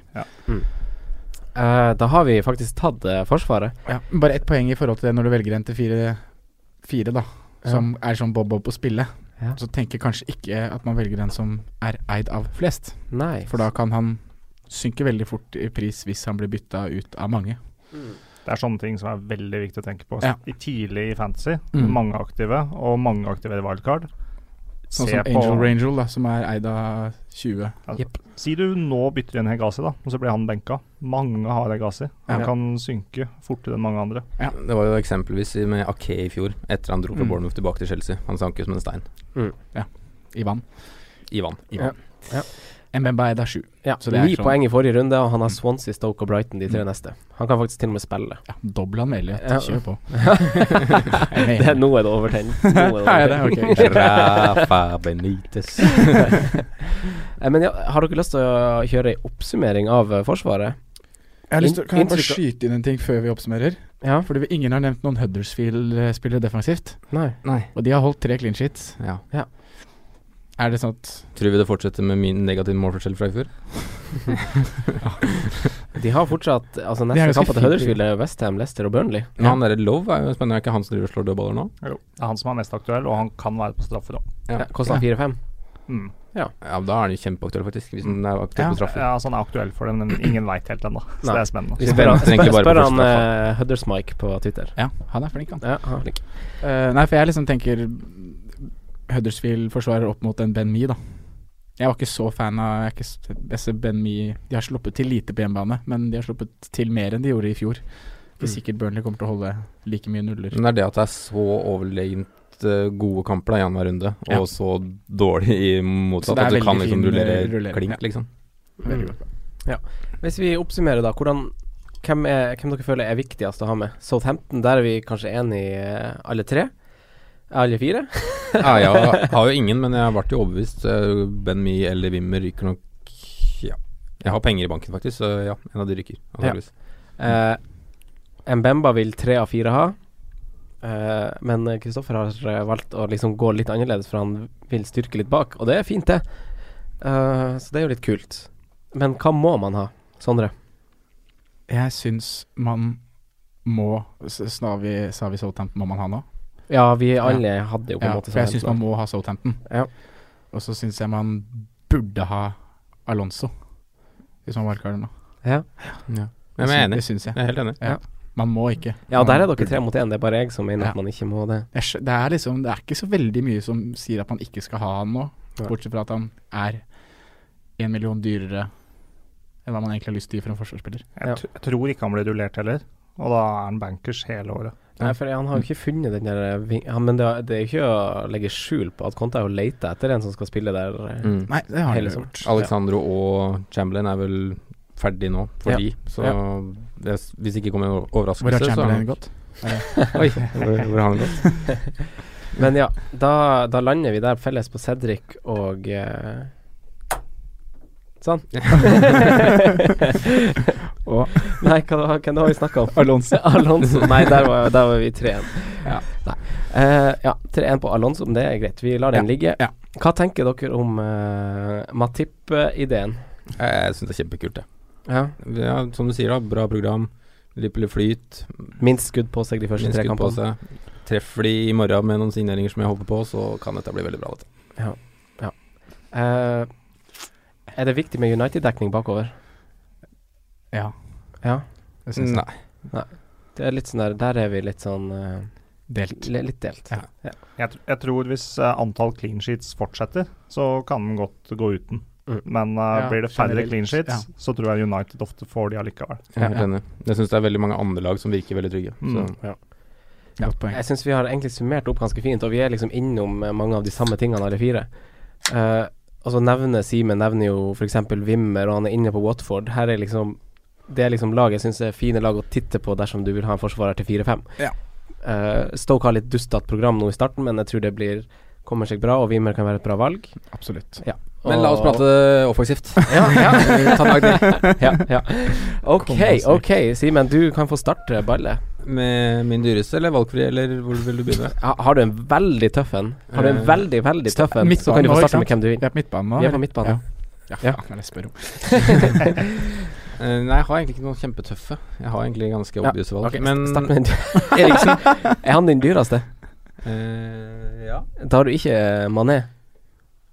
S2: Eh, da har vi faktisk tatt eh, Forsvaret.
S3: Ja. Bare ett poeng i forhold til det når du velger en til fire, fire da. Som er sånn bob-bob å spille.
S2: Ja.
S3: Så tenker kanskje ikke at man velger den som er eid av flest.
S2: Nei.
S3: For da kan han synke veldig fort i pris hvis han blir bytta ut av mange.
S4: Det er sånne ting som er veldig viktig å tenke på.
S3: Ja.
S4: I tidlig i fantasy,
S3: Mm.
S4: mange aktive, og mange aktive i wildcard.
S3: Sånn
S4: Se
S3: som
S4: på-
S3: Angel Rangel, da, som er eid av 20.
S4: Si du nå bytter inn Hegasi, da, og så blir han benka. Mange har Hegasi. Han
S2: Ja.
S4: kan synke fortere enn mange andre.
S5: Det var jo eksempelvis i- med Ake i fjor, etter han dro fra
S3: Mm.
S5: Bournemouth tilbake til Chelsea. Han sank jo som en stein
S3: I vann.
S5: i vann.
S2: Ja.
S3: Mbemba eid av 7.
S2: Ja,
S3: Så det er
S2: Ni
S3: sånn-
S2: poeng i forrige runde, og han har Swansea, Stoke og Brighton de tre neste. Han kan faktisk til og med spille.
S3: Ja, Dobla han Elliot.
S2: Ja.
S3: Kjør på.
S2: det, er- nå er det overtenn. Nå
S3: Ja,
S2: er det
S3: det er ok.
S2: overtenn.
S5: Rafa Benitez.
S2: Eh, Men ja, har dere lyst til å kjøre en oppsummering av eh, Forsvaret?
S3: Jeg har lyst til, kan jeg bare
S2: Inntrykk av-
S3: skyte inn en ting før vi oppsummerer?
S2: Ja.
S3: Fordi vi, ingen har nevnt noen Huddersfield-spillere defensivt.
S2: Nei.
S5: Nei.
S3: Og de har holdt tre clean sheets.
S5: Ja.
S3: Er det sånn at
S5: Tror vi det fortsetter med min negative målforskjell fra i fjor?
S2: De har fortsatt altså
S3: Det er
S2: Neste
S3: ganske
S2: kamp til
S3: fint.
S2: Huddersfield er Westham, Leicester og Burnley.
S5: Men han derre Love er jo spennende, er ikke han som driver og slår dødballer nå?
S4: Det er han som er mest aktuell, og han kan være på straffer òg.
S5: Ja.
S2: Ja, Kosta 4-5.
S4: Mm.
S5: Ja, da er han jo kjempeaktuell, faktisk, hvis han er aktiv
S3: Ja.
S5: på straffer.
S4: Ja, altså, han er aktuell for det, men ingen veit helt ennå. Så
S2: Nei.
S4: det er spennende.
S2: Vi
S5: Så
S2: spør,
S5: venter
S2: spør,
S5: egentlig bare
S2: spør
S5: på
S2: han
S5: første
S2: uh, Huddersmike på Twitter.
S3: Ja, han er flink, han.
S2: Ja, han er flink.
S3: Eh, nei, for jeg liksom tenker Huddersfield-forsvarer opp mot en Ben Mee, da. Jeg var ikke så fan av jeg er ikke s- jeg ser Ben Mee De har sluppet til lite på hjemmebane, men de har sluppet til mer enn de gjorde i fjor. Ikke
S2: Mm.
S3: sikkert Burnley kommer til å holde like mye nuller.
S5: Men det er det at det er så overlegent eh, gode kamper da, i annenhver runde, og
S3: Ja.
S5: så dårlig i
S3: Så
S5: motsatt.
S3: det er
S5: At du kan
S3: veldig
S5: liksom
S3: fin,
S5: rullere
S3: eh, rullering,
S5: klink,
S3: ja.
S5: liksom.
S3: Veldig bra.
S2: Hvis vi oppsummerer, da. Hvordan, hvem, er, hvem dere føler er viktigst å ha med? Southampton, der er vi kanskje enige eh, alle tre? Alle fire?
S5: Ja, jeg har jo ingen, men jeg ble jo overbevist. Eh, Ben Mee eller Wimmer ryker nok Ja. Jeg har penger i banken, faktisk, så ja, en av de ryker. antageligvis.
S2: Eh, Mbemba vil tre av fire ha. Eh, men Kristoffer har eh, valgt å liksom gå litt annerledes, for han vil styrke litt bak. Og det er fint, det. Eh, så det er jo litt kult. Men hva må man ha, Sondre?
S3: Jeg syns man må s- Sa vi, sa vi Southampton må man ha nå?
S2: Ja, vi alle hadde jo på en
S3: Ja,
S2: måte
S3: for jeg
S2: sånn
S3: syns
S2: helt
S3: man må ha Southampton.
S2: Ja.
S3: Og så syns jeg man burde ha Alonso, hvis man valgkarer nå.
S2: lag. Ja.
S5: Men jeg er enig.
S3: Det syns jeg.
S5: Jeg er helt enig.
S3: Man må ikke.
S2: ja, der er dere tre mot én. Det er bare jeg som mener
S3: Ja.
S2: at man ikke må det.
S3: Jeg skj- Det er liksom Det er ikke så veldig mye som sier at man ikke skal ha han nå,
S2: Nei.
S3: bortsett fra at han er en million dyrere enn hva man egentlig har lyst til å gi for en forsvarsspiller.
S2: Ja.
S4: Jeg, t jeg tror ikke han blir rullert heller, og da er han bankers hele året.
S2: Nei, for han har jo ikke funnet den der ving- ja, Men det er, det er jo ikke å legge skjul på at Conte er å lete etter en som skal spille der. eh,
S5: Mm.
S3: Nei, det har han
S2: Hele
S3: jo
S2: sommeren.
S3: gjort.
S5: Alexandro og Chamberlain er vel ferdig nå for
S2: Ja.
S5: de, så det, er s- hvis det ikke kommer en
S3: Hvor
S5: overraskelse,
S3: har
S5: så
S3: Chamberlain
S5: han-
S3: gått?
S5: Oi, hvor, hvor har han gått?
S2: Men ja, da, da lander vi der felles på Cedric og eh, Sånn.
S3: Og-
S2: Nei, hva, da- hvem da har vi snakka om?
S3: Alonso.
S2: Alonso. Nei, der var, der var vi 3-1.
S3: Ja.
S2: Nei. Eh, ja, 3-1 på Alonso, men det er greit. Vi lar den ligge.
S3: ja.
S2: Hva tenker dere om eh, Matip-ideen?
S5: Jeg syns det er kjempekult, det.
S2: Ja.
S5: Ja, som du sier, da, bra program. Lippelig flyt.
S2: Minst skudd på seg de første tre
S5: Innskudd på
S2: kampene.
S5: seg. Treffer de i morgen med noen signeringer som jeg håper på, så kan dette bli veldig bra. Dette.
S2: Eh, er det viktig med United-dekning bakover?
S3: Ja,
S2: Ja.
S3: det
S2: Mm.
S3: syns jeg.
S5: Nei.
S2: Det er litt sånn der, der er vi litt sånn eh,
S3: Delt.
S2: li- Litt delt.
S3: Ja.
S4: Jeg, tr- jeg tror hvis eh, antall clean sheets fortsetter, så kan han godt gå uten.
S2: Mm.
S4: Men eh,
S3: Ja,
S4: blir det færre
S3: generelt,
S4: clean sheets,
S3: ja.
S4: så tror jeg United ofte får de allikevel.
S5: Jeg er
S3: Ja.
S5: helt enig. Jeg syns det er veldig mange andre lag som virker veldig trygge. Så
S4: Mm.
S3: Godt poeng.
S2: Jeg syns vi har egentlig summert opp ganske fint, og vi er liksom innom eh, mange av de samme tingene, alle fire. Eh, og så nevner Simen nevner jo f.eks. Wimmer, og han er inne på Watford. Her er liksom Det er liksom lag jeg syns er fine lag å titte på dersom du vil ha en forsvarer til 4-5.
S3: Ja.
S2: Eh, Stoke har litt dustete program nå i starten, men jeg tror det blir kommer seg bra, og Wimmer kan være et bra valg.
S3: Absolutt.
S5: Men la oss
S2: Og-
S5: prate offensivt.
S2: Ja, ja.
S5: Ta lag det.
S2: ja, ja. Ok,
S3: Kom oss
S2: ok, Simen. Du kan få starte ballet.
S5: Med min dyreste eller valgfri, eller hvor vil du begynne?
S2: Ha, har du en veldig tøff en, Har du en
S5: Eh,
S2: veldig, veldig tøff en, så kan
S3: midtbanen
S2: du få
S3: nå,
S2: starte
S3: ikke
S2: med hvem du vil.
S3: Vi er på midtbanen nå.
S2: Vi er på
S3: eller?
S2: midtbanen.
S3: Ja,
S2: Ja.
S3: ja. faen, er det jeg spør om.
S5: Eh, nei, jeg har egentlig ikke noen kjempetøffe. Jeg har egentlig ganske
S2: Ja,
S5: obvious valg.
S2: Ok,
S5: men
S2: start med den dyr- Eriksen, er han din dyreste?
S5: eh, ja.
S2: Da har du ikke eh, Mané.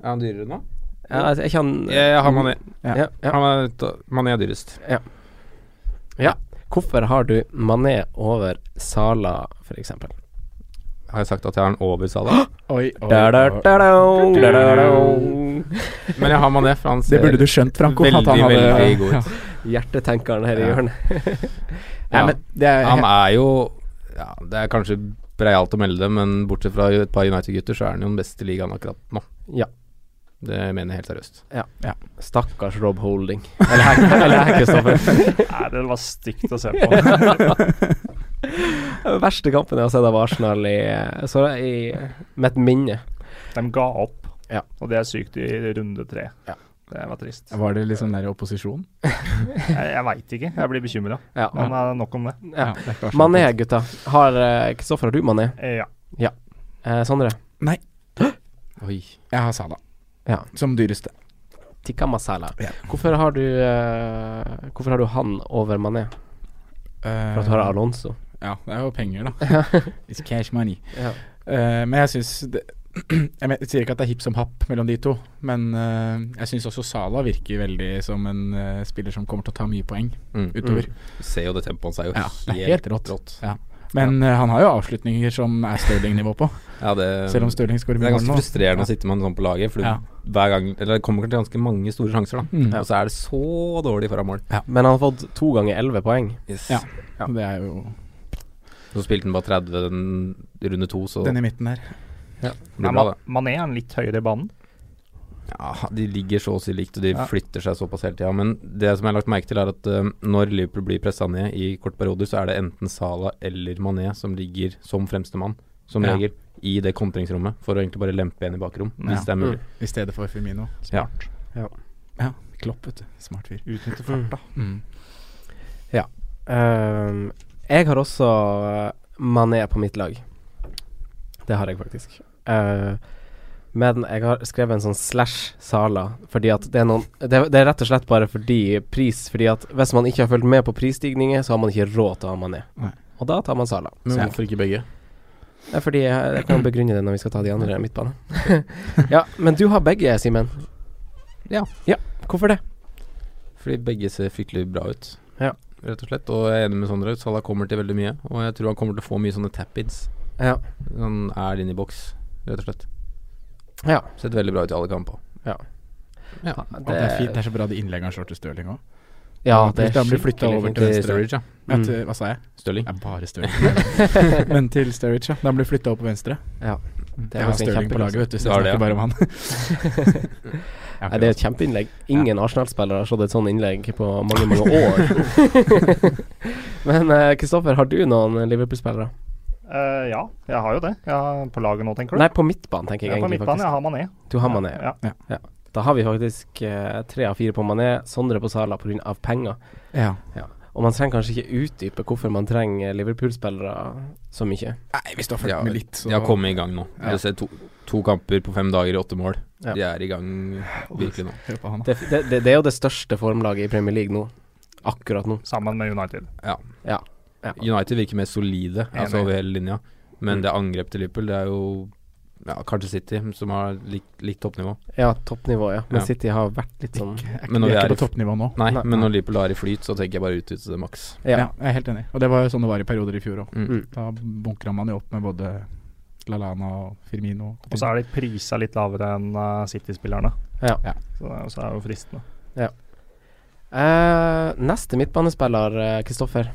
S5: Er han dyrere nå?
S2: Ja, altså, er ikke han
S5: Jeg har Mané.
S2: Ja, ja.
S5: Han er, ta- Mané er dyrest.
S2: Hvorfor har du Mané over Sala, for eksempel?
S5: Har jeg sagt at jeg har han over Salah?
S3: Oi, oi,
S2: Da, da,
S3: oi.
S2: da, da, da, da, da.
S5: Men jeg har Mané, for han ser
S3: Det burde du skjønt, Franco.
S5: veldig,
S3: at han hadde-
S5: veldig god ut.
S2: Hjertetenkeren her i
S3: Ja.
S2: hjørnet.
S3: Ja,
S5: Ja.
S3: men det er,
S5: Han er jo ja, Det er kanskje breialt å melde det, men bortsett fra et par United-gutter, så er han jo den beste i ligaen akkurat nå.
S2: Ja.
S5: Det mener jeg helt seriøst.
S2: Stakkars Rob Holding. Eller her, eller her Kristoffer.
S4: Nei, det var stygt å se på.
S2: Den verste kampen jeg har sett av Arsenal i, eh, så i mitt minne.
S4: De ga opp,
S2: Ja.
S4: og det er sykt i runde tre.
S2: Ja.
S4: Det var trist.
S3: Var det liksom der i opposisjon?
S4: Jeg, jeg veit ikke, jeg blir bekymra.
S2: Ja.
S4: Men eh, nok om det.
S2: Ja.
S3: det er ikke verst.
S2: Mané, gutta. Har eh, Kristoffer, har du Mané?
S4: Eh, Ja.
S2: Eh, Sondre?
S5: Oi.
S3: Jeg har Salah
S2: Ja.
S3: som dyreste.
S2: Tikka masala.
S3: Ja.
S2: Hvorfor har du eh, Hvorfor har du han over Mané? For at du har
S3: Eh.
S2: Alonso.
S3: Ja, det er jo penger, da. It's cash money.
S2: Ja.
S3: Eh, men jeg syns det- jeg, men- jeg sier ikke at det er hipp som happ mellom de to, men eh, jeg syns også Salah virker veldig som en eh, spiller som kommer til å ta mye poeng
S5: Mm.
S3: utover.
S5: Du ser jo det tempoet hans er jo
S3: Ja, det er
S5: helt
S3: helt rått. Ja. Men eh, han har jo avslutninger som er Stirling-nivå på,
S5: Ja, det,
S3: selv om Stirling skårer
S5: Det
S3: mye
S5: er
S3: mål
S5: ganske
S3: nå.
S5: frustrerende å sitte med en sånn på laget, for du-
S3: Ja.
S5: hver gang Eller det kommer til ganske mange store sjanser, da.
S3: Mm.
S5: Og så er det så dårlig foran mål.
S2: Men han har fått to ganger elleve poeng.
S5: Ja.
S3: Ja. Det er jo
S5: Så spilte han bare 30 den runde to, så
S3: den i midten der.
S5: det
S4: Nei,
S5: blir bra,
S4: Ma-
S5: det.
S4: Mané er han litt høyere i banen.
S5: Ja, de ligger så å si likt, og de
S4: Ja.
S5: flytter seg såpass hele tida. Men det som jeg har lagt merke til, er at eh, når Liverpool blir pressa ned i korte perioder, så er det enten Salah eller Mané som ligger som fremste mann, som
S3: Ja.
S5: regel, i det kontringsrommet, for å egentlig bare lempe igjen i bakrom,
S4: Ja.
S5: hvis det er mulig.
S3: I stedet for Firmino.
S5: Ja.
S3: Klopp, vet du. Smart fyr.
S4: Utnytter farta.
S3: Mm.
S2: Ehm, jeg har også eh, Mané på mitt lag. Det har jeg faktisk. Eh, men jeg har skrevet en sånn slash Sala, fordi at det er noen det, er- det er rett og slett bare fordi pris. Fordi at hvis man ikke har fulgt med på prisstigninger, så har man ikke råd til å ha Mané.
S3: Nei.
S2: Og da tar man Sala.
S5: Men
S2: Så-
S5: hvorfor ikke begge?
S2: Det er fordi jeg, jeg kan begrunne det når vi skal ta de andre midtbane. ja, men du har begge, Simen.
S5: Ja.
S2: Hvorfor det?
S5: Fordi begge ser fryktelig bra ut.
S2: Ja.
S5: Rett og slett. Og jeg er enig med Sondre. Salah kommer til veldig mye. Og jeg tror han kommer til å få mye sånne tap-ins.
S2: Ja.
S5: Han er inne i boks, rett og slett.
S2: Ja.
S5: Sett veldig bra ut i alle kamper.
S3: Og det, er fint, det er så bra de innleggene han slår til Stirling òg.
S2: Ja, det
S3: Plutselig han blir
S2: skikkelig
S3: flyttet over
S2: fint.
S3: til venstre.
S5: Sturridge, ja.
S2: Mm.
S3: eh, Hva sa jeg?
S5: Stirling.
S3: Det er bare Stirling. Men til Sturridge, ja. Da han blir flytta opp på venstre.
S2: Ja. Mm, Det er
S3: Jeg har
S2: faktisk en
S3: Stirling på
S2: kjempeklasse.
S3: laget, vet du, så
S5: Du har
S3: jeg
S5: det,
S3: snakker bare om han. Ja,
S2: Nei, det er et kjempeinnlegg. Ingen Arsenal-spillere har slått et sånt innlegg på mange, mange år. Men eh, Kristoffer, har du noen Liverpool-spillere?
S4: Eh, ja, jeg har jo det. Jeg har på laget nå, tenker du?
S2: Nei, på midtbanen, tenker jeg
S4: jeg er på
S2: egentlig.
S4: midtbanen,
S2: faktisk
S4: jeg har Mané.
S2: Du har Mané.
S4: Ja.
S2: Da har vi faktisk eh, tre av fire på Mané, Sondre på Sala pga. penger.
S3: ja.
S2: Og man trenger kanskje ikke utdype hvorfor man trenger Liverpool-spillere så mye.
S3: Nei, hvis du har fulgt
S5: Ja,
S3: med litt, så
S5: De har kommet i gang nå.
S3: Ja.
S5: Du ser to, to kamper på fem dager i åtte mål.
S2: Ja.
S5: De er i gang virkelig nå.
S3: Hør på han, da.
S2: Det, det, det, det er jo det største formlaget i Premier League nå. Akkurat nå.
S4: Sammen med United.
S2: Ja.
S5: United virker mer solide altså
S4: Enig.
S5: over hele linja, men
S2: Mm.
S5: det angrep til Liverpool det er jo ja, kanskje City, som har litt, litt toppnivå.
S2: ja, toppnivå, ja. Men
S5: Ja.
S2: City har vært litt sånn
S3: Jeg er ikke,
S5: Men når
S3: vi
S5: vi
S3: er
S5: er i
S3: ikke på
S5: f-
S3: toppnivå nå.
S5: Nei,
S2: Nei.
S5: men når Liverpool er i flyt, så tenker jeg bare utnytte det maks.
S3: Ja.
S2: Ja.
S3: jeg er helt enig. Og det var jo sånn det var i perioder i fjor òg.
S5: Mm.
S2: Mm.
S3: Da bunkra man jo opp med både Lalana og Firmino.
S4: Og så er de prisa litt lavere enn eh, City-spillerne.
S2: Ja.
S3: Ja.
S4: Så, det er- så er det jo fristende.
S2: Eh, neste midtbanespiller, eh, Kristoffer.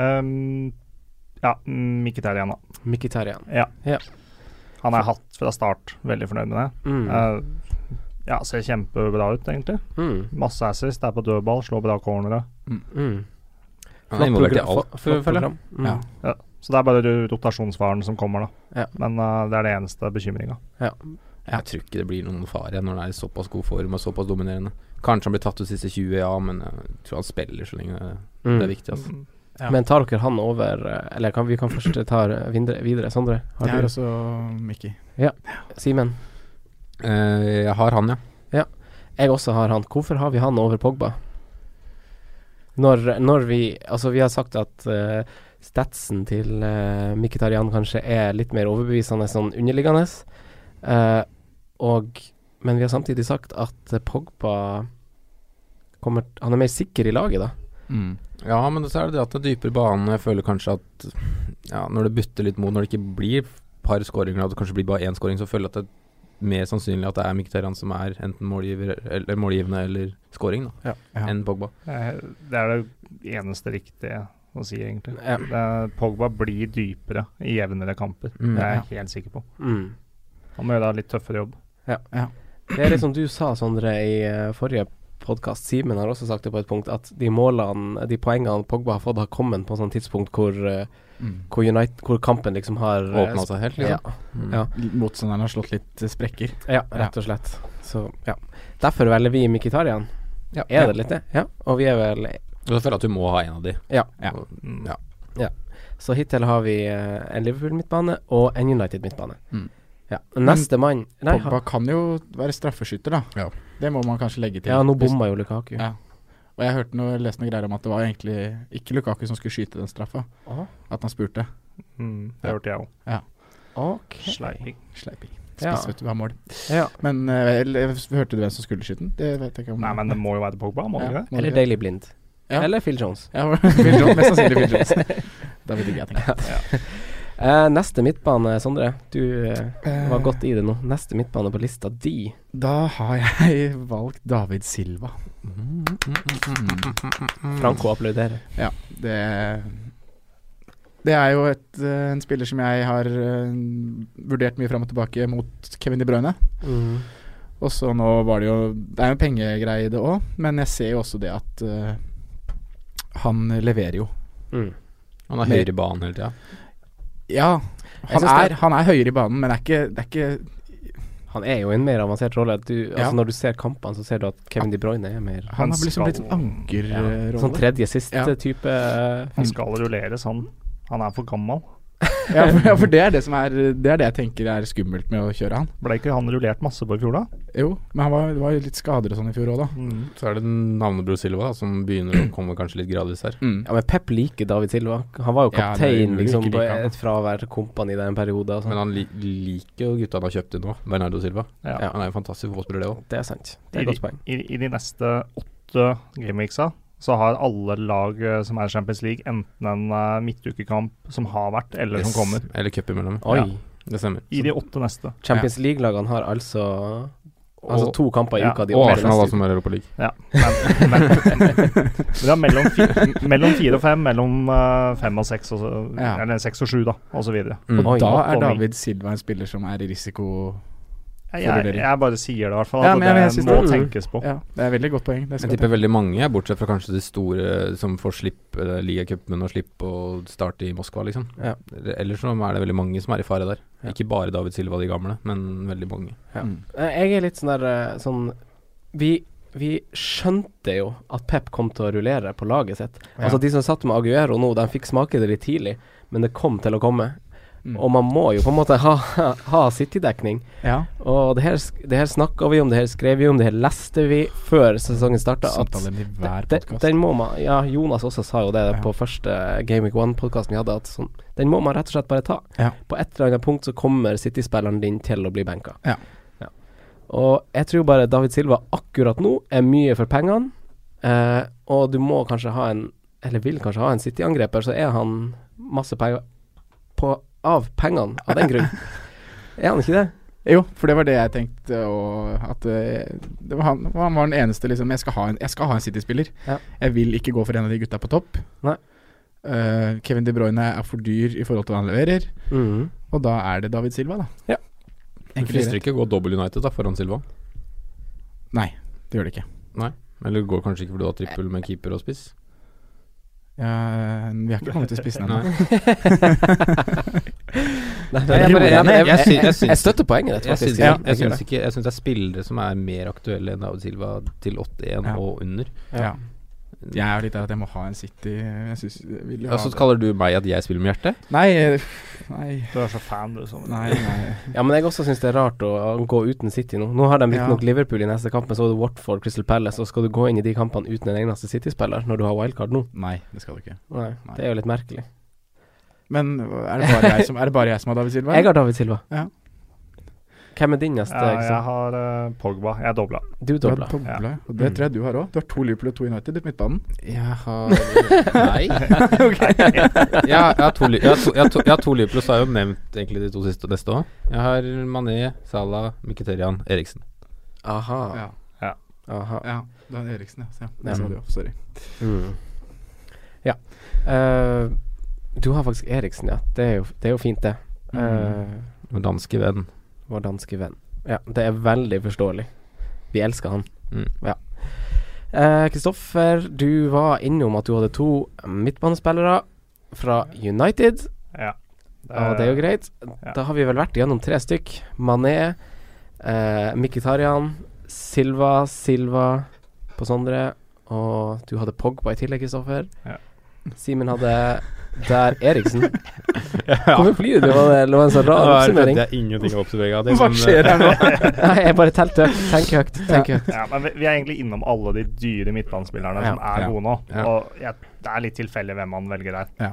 S4: Um, ja, Mkhitarian, da.
S2: Mkhitaryan.
S4: Han er hatt fra start. Veldig fornøyd med det.
S2: Mm.
S4: Eh, ja, ser kjempebra ut, egentlig.
S2: mm.
S4: Masse assist, er på dødball, slår bra cornere.
S2: Mm.
S5: Han er involvert i
S2: program-
S5: alt,
S2: flott
S5: føler jeg.
S2: program. Mm.
S3: Ja.
S4: Ja, så det er bare ro- rotasjonsfaren som kommer, da.
S2: Ja.
S4: Men eh, det er det eneste bekymringa.
S5: Jeg tror ikke det blir noen fare når han er i såpass god form og såpass dominerende. Kanskje han blir tatt ut siste 20, ja, men jeg tror han spiller så lenge det, det er
S2: Mm.
S5: viktig. Altså.
S3: Ja.
S2: Men tar dere han over eh, Eller kan, vi kan først ta eh, videre, videre. Sondre, har
S3: Jeg er
S2: du
S3: også Mickey.
S2: Simen? Mm.
S5: Eh, jeg har han, ja.
S2: Jeg også har han. Hvorfor har vi han over Pogba? Når, når vi Altså, vi har sagt at eh, statsen til uh, Mkhitarian kanskje er litt mer overbevisende sånn underliggende, Eh, og Men vi har samtidig sagt at eh, Pogba kommer Han er mer sikker i laget, da.
S5: Mm. Ja, men så er det det at det er dypere bane. og Jeg føler kanskje at ja, når det butter litt mot, når det ikke blir par skåringer, at det kanskje blir bare én skåring, så føler jeg at det er mer sannsynlig at det er Mkhitaryan som er enten målgiver eller målgivende eller skåring, da,
S3: Ja.
S5: enn Pogba.
S4: Eh, Det er det eneste riktige å si, egentlig.
S2: Ja.
S4: Det er- Pogba blir dypere i jevnere kamper.
S5: Mm.
S4: Det er jeg helt sikker på.
S2: Mm.
S4: Han må gjøre en litt tøffere jobb.
S2: Det er litt som du sa, Sondre, i eh, forrige podkast. Simen har også sagt det på et punkt, at de målene, de poengene Pogba har fått, har kommet på sånn tidspunkt hvor, eh,
S3: Mm.
S2: hvor, United, hvor kampen liksom har eh,
S5: Åpna seg helt,
S2: Ja,
S5: liksom. Mm.
S2: ja.
S3: Motstanderen har slått litt eh, sprekker.
S2: ja, rett og slett. Så, ja. Derfor velger vi Mkhitarian.
S5: Ja.
S2: Er det litt det? Ja. Og vi er vel
S5: Og så føler jeg at du må ha en av de.
S4: Mm.
S5: Ja.
S2: Så hittil har vi eh, en Liverpool-midtbane og en United-midtbane.
S3: Mm.
S2: Ja. Neste mann Nei,
S3: Pogba kan jo være straffeskytter, da.
S5: Ja.
S3: Det må man kanskje legge til.
S2: ja, nå
S3: Hvis-
S2: bomma jo Lukaku.
S3: Ja. Og jeg hørte noe, leste noe greier om at det var egentlig ikke Lukaku som skulle skyte den straffa.
S2: Å,
S3: At han spurte.
S4: Mm, det hørte jeg òg.
S2: Ok.
S4: Sleiping.
S3: Sleiping.
S2: Ja.
S3: Spiss, vet du, hva er mål.
S2: Ja.
S3: Men eh, eller, hørte du hvem som skulle skyte den? Det vet jeg ikke om.
S4: Nei, men det må jo være Pogba, må det ikke
S3: ja,
S4: det?
S3: må
S2: Eller
S3: det.
S2: Daily Blind.
S3: Ja.
S2: Eller Phil Jones.
S3: Ja, Phil Jones, mest sannsynlig Phil Jones. Da vet ikke jeg tenker.
S2: Eh, neste midtbane, Sondre. Du eh, var godt i det nå. Neste midtbane på lista di.
S3: Da har jeg valgt David Silva. Mm.
S2: Franco applauderer.
S3: Det det er jo et, eh, en spiller som jeg har eh, vurdert mye fram og tilbake mot Kevin De Bruyne. Mm. Og så nå var det jo Det er jo en pengegreie i det òg, men jeg ser jo også det at eh, han leverer jo.
S2: Mm.
S5: Han er
S3: Mer.
S5: høyere i banen hele tida.
S3: Ja, han
S2: synes
S3: er,
S2: det-
S3: han er høyere i banen, men det er ikke, det er ikke
S2: Han er jo i en mer avansert rolle. Du,
S3: Ja.
S2: altså Når du ser kampene, så ser du at Kevin De Bruyne er mer
S3: Han, har liksom blitt sånn
S4: skal-
S3: ankerrolle.
S2: Sånn tredje-siste
S3: Ja.
S2: type eh,
S4: Han skal rulleres, han. Han er for gammel.
S3: ja, for, ja, for det er det som er Det er det jeg tenker er skummelt med å kjøre han.
S4: Ble ikke han rullert masse på i fjor, da?
S3: Jo, men han var, det var jo litt skader og sånn i fjor òg, da.
S5: Mm. Så er det navnebror Silva da, som begynner å komme kanskje litt gradvis her.
S3: Mm.
S2: Ja, men Pep liker David Silva. Han var jo
S3: Ja, det er
S2: kaptein
S3: umulig
S2: liksom,
S3: ikke
S2: på
S3: like han.
S2: et fravær kompani den perioden. og sånn.
S5: Men han li liker jo gutta han har kjøpt inn nå, Bernardo Silva.
S4: Ja.
S5: Han er jo en fantastisk fotballspiller, det òg.
S2: Det er sant. Det er et godt poeng.
S4: I, I de neste åtte åtte gameweeksa så har alle lag eh, som er i Champions League, enten en eh, midtukekamp som har vært, eller
S5: Yes.
S4: som kommer.
S5: Eller cup imellom.
S2: Oi.
S4: Ja.
S5: Det stemmer.
S4: I de åtte neste.
S2: Champions League-lagene har altså Altså
S5: Og-
S2: to kamper i
S4: ja,
S2: uka. de
S5: og
S2: opererer
S5: Arsenal,
S2: neste
S5: da,
S2: uke.
S5: som er Europa League.
S4: Men, men, men det er mellom, fi, mellom fire og fem, mellom eh, fem og seks, og så,
S3: Ja.
S4: eller seks og sju, da, og så videre.
S5: Mm.
S2: Oi.
S3: Da
S4: Oppvarming.
S3: er David Silva en spiller som er i risiko
S4: Jeg, jeg,
S3: Forvurdering.
S4: jeg bare sier det, i hvert fall.
S3: Ja,
S4: at
S3: men jeg- jeg
S4: det
S3: synes
S4: må
S3: det-
S4: tenkes på.
S3: Ja, det er veldig godt poeng. Det
S5: Jeg
S3: skal jeg
S5: tipper veldig mange, bortsett fra kanskje de store som får slippe eh, ligacupen og slippe å starte i Moskva, liksom.
S2: Ja.
S5: Ellers så er det veldig mange som er i fare der.
S2: Ja.
S5: Ikke bare David Silva, de gamle, men veldig mange.
S3: ta.
S2: Ja.
S3: Mm.
S2: Eh, Jeg er litt sånn der eh, sånn vi, vi skjønte jo at Pep kom til å rullere på laget sitt.
S4: Ja.
S2: Altså De som satt med Aguero nå, de fikk smake det litt tidlig, men det kom til å komme.
S3: Mm.
S2: Og man må jo på en måte ha, ha City-dekning.
S3: Ja,
S2: Og det her, sk- det her snakka vi om, det her skrev vi om, det her leste vi før sesongen starta.
S3: samtaler i hver podkast.
S2: Den må man Ja, Jonas også sa jo det
S3: Ja.
S2: på første Game Week One-podkasten vi hadde, at sånn, den må man rett og slett bare ta.
S3: Ja.
S2: På et eller annet punkt så kommer City-spilleren din til å bli benka.
S3: Ja.
S2: Ja. Og jeg tror bare David Silva akkurat nå er mye for pengene, eh, og du må kanskje ha en Eller vil kanskje ha en City-angreper, så er han masse penger på, av pengene av den grunn. er han ikke det?
S3: Jo, for det var det jeg tenkte. Og at eh, det var han, han var den eneste liksom Jeg skal ha en, jeg skal ha en City-spiller.
S2: Ja.
S3: Jeg vil ikke gå for en av de gutta på topp.
S2: Nei.
S3: Eh, Kevin De Bruyne er for dyr i forhold til hva han leverer.
S2: Mhm.
S3: Og da er det David Silva, da.
S2: Ja.
S5: Det
S3: Enkelt og
S5: frister
S3: greit.
S5: ikke å gå dobbel United da, foran Silva.
S3: Nei, det gjør det ikke.
S5: Eller går kanskje ikke fordi du har trippel med keeper og spiss.
S3: Ja, vi har ikke kommet til spissen
S5: Nei.
S3: ennå.
S2: Nei, nei, jeg, bare- jeg, jeg, jeg, jeg, jeg, jeg støtter poenget ditt,
S5: Jeg
S2: faktisk.
S5: syns ja,
S2: jeg
S5: jeg
S2: gjør
S5: syns ikke- jeg syns det er spillere som er mer aktuelle enn David Silva til 8-1
S3: Ja.
S5: og under.
S3: Ja. Jeg er jo litt der at jeg må ha en City. Jeg synes, jeg vil jo ha
S5: Ja, så
S3: det.
S5: kaller du meg at jeg spiller med hjertet?
S3: Nei, eh, nei,
S4: Du er så fan, du. Som.
S3: nei, nei.
S2: Ja, men jeg også syns det er rart å å gå uten City nå. Nå har de
S3: Ja.
S2: riktignok nok Liverpool i neste kamp, men så er det Watford, Crystal Palace, og skal du gå inn i de kampene uten en eneste City-spiller når du har wildcard nå?
S3: Nei, det skal du ikke.
S2: Nei,
S3: Nei.
S2: Det er jo litt merkelig.
S3: Men er det bare jeg som, er det bare jeg som har David Silva?
S2: Jeg har David Silva.
S3: Ja.
S2: Hvem er din neste?
S4: Ja, jeg
S2: Liksom?
S4: har eh, Pogba. Jeg er dobla.
S2: Du
S3: Du har
S2: dobla.
S3: doble,
S4: Ja.
S3: og det tror jeg du har òg. Du har to Liverpool og to United i midtbanen.
S5: Jeg har Nei. jeg, jeg har to, li- jeg har to, jeg har to, jeg har to Liverpool, så har jeg jo nevnt egentlig de to siste og neste òg. Jeg har Mané, Salah, Mkhitaryan, Eriksen.
S2: Aha.
S3: Ja,
S2: Aha.
S3: ja. Du har Eriksen, ja. Så ja.
S2: Ja.
S3: Det sa du jo. Sorry.
S2: Mm. Ja. Eh, du har faktisk Eriksen, ja. Det er jo, det er jo fint, det. Eh,
S5: Vår danske venn.
S2: Vår danske venn. Ja, det er veldig forståelig. Vi elsker han.
S5: Mm.
S2: Ja. Eh, Kristoffer, du var innom at du hadde to midtbanespillere fra United,
S4: Ja.
S2: og det er jo greit.
S4: ja.
S2: Da har vi vel vært igjennom tre stykk. Mané, eh, Mkhitaryan, Silva, Silva på Sondre, og du hadde Pogba i tillegg, Kristoffer.
S4: Ja.
S2: Simen hadde der Eriksen. Hvorfor flirer du? Det var det var en så rar oppsummering.
S5: er ingenting å observere.
S3: her nå?
S2: Nei, jeg bare telte høyt. Tenk høyt. Tenk høyt.
S4: Ja, men vi, vi er egentlig innom alle de dyre midtbanespillerne som
S2: Ja.
S4: er
S3: Ja.
S4: gode nå.
S5: Ja.
S4: Og jeg, det er litt tilfeldig hvem man velger der.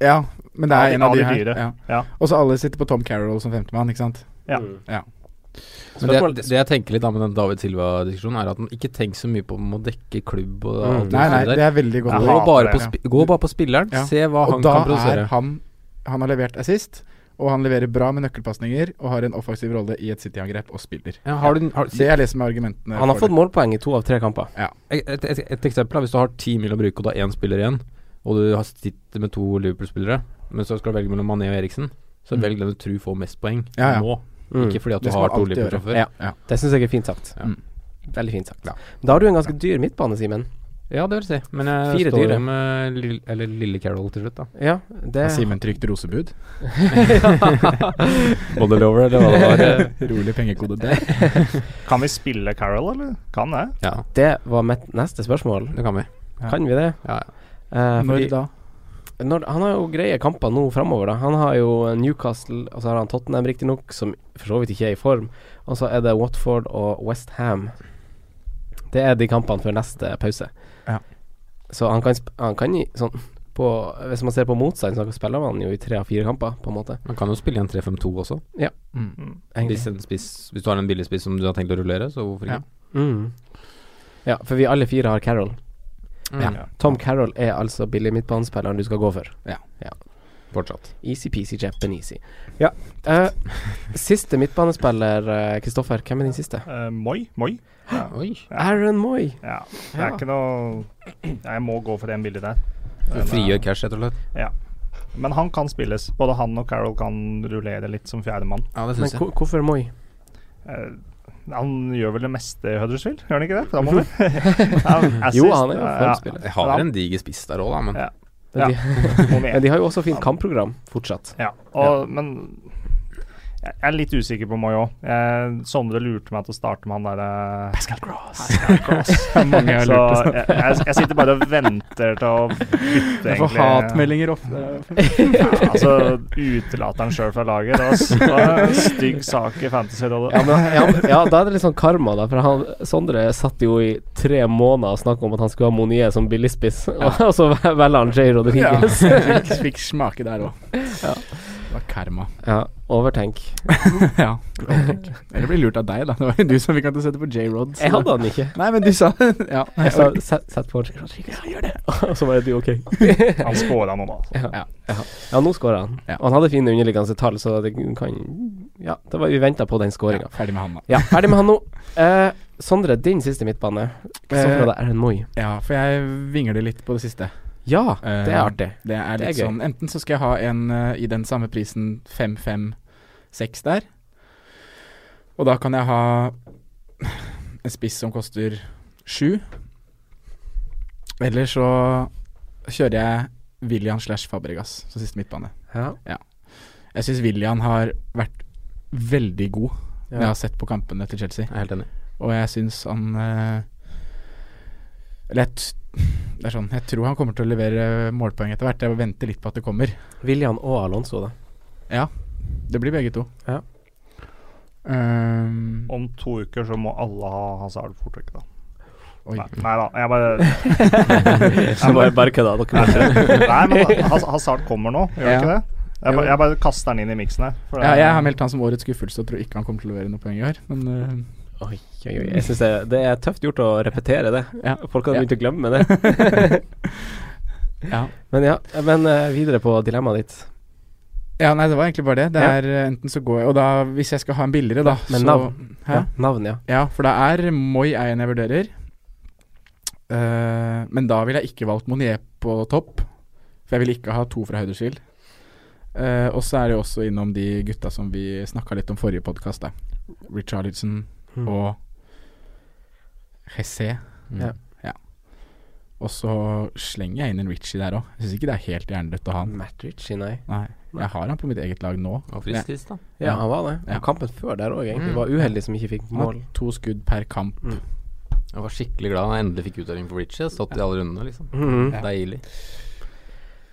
S3: Ja, men det
S4: Av
S3: er
S4: de-
S3: en av
S4: av
S3: de
S4: de
S3: her.
S4: dyre.
S3: Ja.
S4: Ja.
S3: Og så alle sitter på Tom Carroll som femtemann, ikke sant?
S4: Ja.
S5: Men det, det jeg tenker litt da med den David Silva-diskusjonen, er at han ikke tenker så mye på om å dekke klubb og
S2: Mm.
S5: alt
S3: Nei, nei,
S5: det
S3: det er veldig godt.
S4: Jeg
S5: Gå
S4: hater
S5: bare,
S4: det,
S5: på
S3: ja.
S5: spi gå bare på spilleren,
S3: Ja.
S5: se hva
S3: Og
S5: han
S3: da
S5: kan
S3: er
S5: produsere.
S3: han Han har levert assist, og han leverer bra med nøkkelpasninger, og har en offensiv rolle i et City-angrep, og spiller.
S5: Ja, har du, har,
S3: Det er det som er argumentene.
S2: Han har
S3: for
S2: fått målpoeng i to av tre kamper.
S5: Et, et, et, et eksempel er hvis du har ti mil å bruke, og du har én spiller igjen, og du har sitter med to Liverpool-spillere, men så skal du velge mellom Mané og Eriksen, så
S3: Mm.
S5: velg den du tror får mest poeng
S3: Ja, ja.
S5: nå.
S2: Mm.
S5: Ikke fordi at du
S3: Det skal
S5: har
S3: man
S5: to
S3: alltid
S5: Liverpool fra før.
S2: Ja.
S5: Ja.
S2: Det syns jeg er fint sagt.
S5: Ja.
S3: Mm.
S2: Veldig fint sagt.
S5: Ja.
S2: Da har du en ganske dyr midtbane, Simen.
S5: det vil si. Men jeg
S2: Fire
S5: står
S2: dyre.
S5: jo med lille, eller lille Carol til slutt, da.
S2: Ja, det
S3: det. Simen trygt rosebud.
S5: Body lover, eller hva det var.
S3: Rolig pengekode der.
S4: Kan vi spille Carol, eller? Kan det?
S5: Ja,
S2: Det var mitt neste spørsmål.
S5: det kan vi.
S3: Ja.
S2: Kan vi det?
S5: Ja, ja.
S2: Eh,
S3: Når
S2: fordi-
S3: da?
S2: når, han har jo greie kamper nå framover, da. Han har jo Newcastle, og så har han Tottenham riktignok, som for så vidt ikke er i form. Og så er det Watford og West Ham Det er de kampene før neste pause.
S3: Ja.
S2: Så han kan, sp- han kan gi sånn på, Hvis man ser på motstand, så spiller man jo i tre av fire kamper, på en måte.
S5: Man kan jo spille i en 3-5-2 også.
S3: Mm.
S4: Mm.
S5: Hvis, en spiss, hvis du har en billig spiss som du har tenkt å rullere, så hvorfor
S3: Ja.
S5: ikke?
S2: Mm. Ja, for vi alle fire har Carroll.
S5: Ja.
S4: Ja.
S2: Tom Carroll er altså billig midtbanespilleren du skal gå for.
S5: Fortsatt.
S2: Easy-peasy Japanese. Ja. eh, siste midtbanespiller, eh, Kristoffer. Hvem er din siste?
S4: Eh, Moi? Moi? Ja.
S5: Oi.
S2: Aaron Moy.
S4: ja. Det er
S2: Ja.
S4: ikke noe Jeg må gå for den bildet der. Den er-
S5: Frigjør cash, rett og slett.
S4: Men han kan spilles. Både han og Carol kan rullere litt som fjerdemann.
S5: Ja, det
S2: Men
S5: syns jeg.
S2: hvor- hvorfor Moy?
S4: Eh, han gjør vel det meste i Huddersfield, gjør han ikke det? Fremover. Ja, assist,
S2: Jo, han er jo
S4: ja,
S2: formspiller.
S5: Jeg har en diger spiss der òg, da, men
S4: Ja.
S2: Men,
S4: Ja.
S2: de,
S4: må med.
S2: men de har jo også fint kampprogram fortsatt.
S4: Ja, og, men jeg jeg er litt usikker på Moi òg. Sondre lurte meg til å starte med han eh, derre Pascal Gross.
S3: Mange har
S4: Så
S3: lurt det.
S4: jeg, jeg, jeg sitter bare og venter til å bytte,
S3: Jeg får hatmeldinger ofte.
S4: Ja, altså, utelater han sjøl fra laget. Det var s- det var en stygg sak i Fantasy-rådet.
S2: Ja, men, ja, men- ja, da er det litt sånn karma, da. For han, Sondre satt jo i tre måneder og snakket om at han skulle ha Monier som billigspiss, og så velger han J.
S3: Ja.
S2: Rodriguez.
S3: Fikk, fikk smake der òg.
S2: Ja.
S3: Det var karma.
S2: Ja, overtenk.
S3: ja. Eller blir lurt av deg, da. Det var jo du som fikk han til å sette på J-Rod. så-
S2: Jeg hadde han ikke.
S3: Nei, men du sa Ja.
S2: Jeg sa "Sett- sett på J. Rodriguez, gjør det. Og så var det du, OK.
S4: Han scora nå, da. Altså.
S2: Ja, nå skåra han.
S3: Ja.
S2: Og han hadde fine underliggende tall, så det kan Ja, det var, vi venta på den
S3: Ja,
S2: skåringa.
S3: ferdig med han, da.
S2: Ja. ferdig med han nå. Eh, Sondre, din siste midtbane. Kristoffer hadde Aaron Moy.
S3: Ja, for jeg vingler litt på det siste.
S2: Ja,
S3: Eh,
S2: det er artig.
S3: Det er
S2: Det er
S3: litt
S2: gøy.
S3: sånn Enten så skal jeg ha en eh, i den samme prisen 5-5-6 der. Og da kan jeg ha en spiss som koster 7. Eller så kjører jeg William slash Fabregas som siste midtbane.
S2: Ja.
S3: Jeg syns William har vært veldig god når jeg
S2: Ja.
S3: har sett på kampene til Chelsea.
S5: jeg er helt enig.
S3: Og jeg syns han eh, Eller jeg, t- det er sånn, jeg tror han kommer til å levere målpoeng etter hvert. Jeg venter litt på at det kommer.
S2: William og Alonso, da.
S3: Det blir begge to.
S2: Ja.
S3: Ehm,
S4: Om to uker så må alle ha Hazard fortrekk, da.
S3: oi.
S4: Nei, nei da, jeg bare
S2: Så bare, bare kødda, dere.
S4: Nei, men da, Haz- Hazard kommer nå, gjør
S3: Ja.
S4: ikke det? Jeg,
S3: Jo.
S4: bare- jeg bare kaster den inn i miksen her. for det-
S3: Ja, jeg har meldt han som årets skuffelse og tror ikke han kommer til å levere noe poeng i år. Men eh,
S2: Oi, oi, oi. Jeg syns det, det er tøft gjort å repetere det.
S3: Ja.
S2: Folk hadde
S3: Ja.
S2: begynt å glemme det.
S3: ja.
S2: men ja, men eh, videre på dilemmaet ditt.
S3: ja, nei, det var egentlig bare det. Det
S2: Ja.
S3: er eh, enten så går jeg Og da, hvis jeg skal ha en billigere, da
S2: Men
S3: så,
S2: navn.
S3: Hæ?
S2: Ja, navn, ja.
S3: Ja, for det er Moi er en jeg vurderer. Eh, men da ville jeg ikke valgt Monier på topp. For jeg ville ikke ha to fra Huddersfield. Eh, og så er det jo også innom de gutta som vi snakka litt om forrige podkast. Richarlison
S2: Mm.
S3: og Hesse.
S5: Mm.
S2: Ja.
S3: Og så slenger jeg inn en Richie der òg. Jeg syns ikke det er helt hjernedødt å ha han.
S2: Matt Ritchie, nei.
S3: Nei, jeg har han på mitt eget lag nå.
S5: Og frisk sist, da.
S2: Ja, han var det.
S3: Ja.
S2: Og kampen før der òg, egentlig.
S5: Mm.
S2: Var uheldig som ikke fikk
S3: Han har
S2: mål.
S3: to skudd per kamp.
S5: Jeg var skikkelig glad da jeg endelig fikk utdeling for Richie. Jeg har Stått i alle rundene, liksom.
S2: Mhm.
S3: Ja.
S5: Deilig.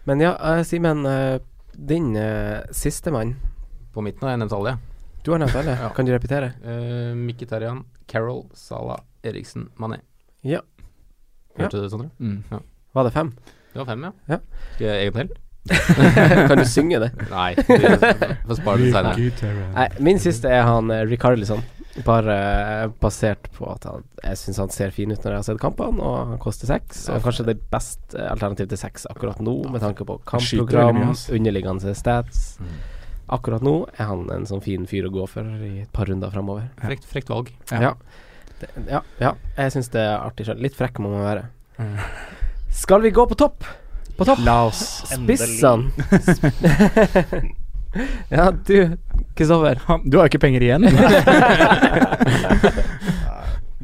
S2: Men ja, eh, Simen. eh, Din uh, sistemann.
S5: På midten har jeg nevnt alle, ja.
S2: Du har nevnt alle.
S5: Ja.
S2: Kan du repetere?
S5: Uh, Mkhitarian, Carol, Salah, Eriksen, Mané.
S2: Ja.
S5: Hørte du det, Sondre?
S3: Mm.
S2: Var det fem?
S5: Det var fem, ja.
S2: Ja.
S5: Skal jeg egen til?
S2: kan du synge det?
S5: Nei, vi får spare det seinere.
S2: Nei, min siste er han eh, Ricarlison. Bare eh, basert på at han, jeg syns han ser fin ut når jeg har sett kampene, og han koster seks. Og kanskje det beste eh, alternativet til seks akkurat nå, med tanke på
S3: Han skyter veldig
S2: kampprogram,
S3: mye, ass.
S2: underliggende stats.
S5: Mm.
S2: Akkurat nå er han en sånn fin fyr å gå for i et par runder framover.
S5: Frekt, frekt valg.
S3: Ja.
S2: Ja. Det, ja, ja. Jeg syns det er artig sjøl. Litt frekk må man være.
S3: Mm.
S2: Skal vi gå på topp? På topp.
S3: La oss
S2: Spissene. ja, du, Kristoffer.
S3: han, Du har jo ikke penger igjen.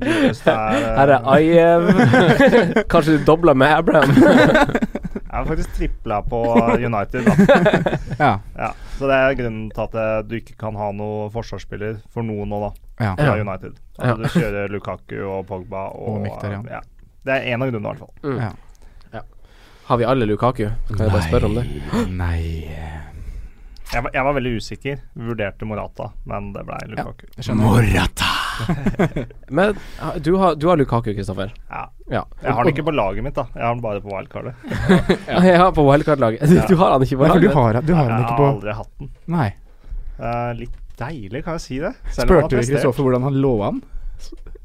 S4: Dyrest er, eh,
S2: Her er Ayev. Kanskje du dobler med Abraham.
S4: Jeg har faktisk tripla på United, da.
S3: ja.
S4: Ja. Så det er grunnen til at eh, du ikke kan ha noe forsvarsspiller for noen nå, da.
S3: ja.
S4: Fra
S2: Ja.
S4: United.
S2: Ja.
S4: Altså, du kjører Lukaku og Pogba og, eh,
S3: Og Mkhitaryan.
S4: Ja. Det er én av grunnene, i hvert fall.
S2: Mm.
S3: Ja.
S2: Har vi alle Lukaku? Kan jeg bare spørre om det?
S3: Nei
S4: Jeg, var- jeg var veldig usikker. Vurderte Morata, men det ble Lukaku.
S3: Jeg skjønner.
S2: Men ah, du har, du har Lukaku, Kristoffer.
S4: Ja.
S2: Ja.
S4: Jeg har den ikke på laget mitt, da. Jeg har den bare på wildcardet.
S2: Ja. Jeg har på wildcard-laget. Du, du har han ikke på
S3: Nei, for du
S2: laget.
S3: har, du har
S4: Jeg
S3: den ikke
S4: har
S3: på
S4: aldri hatt den.
S3: Nei.
S4: Eh, litt deilig, kan jeg si det? Selv om han
S3: Spurte
S4: har
S3: du
S4: prestert.
S3: Kristoffer hvordan han lå an?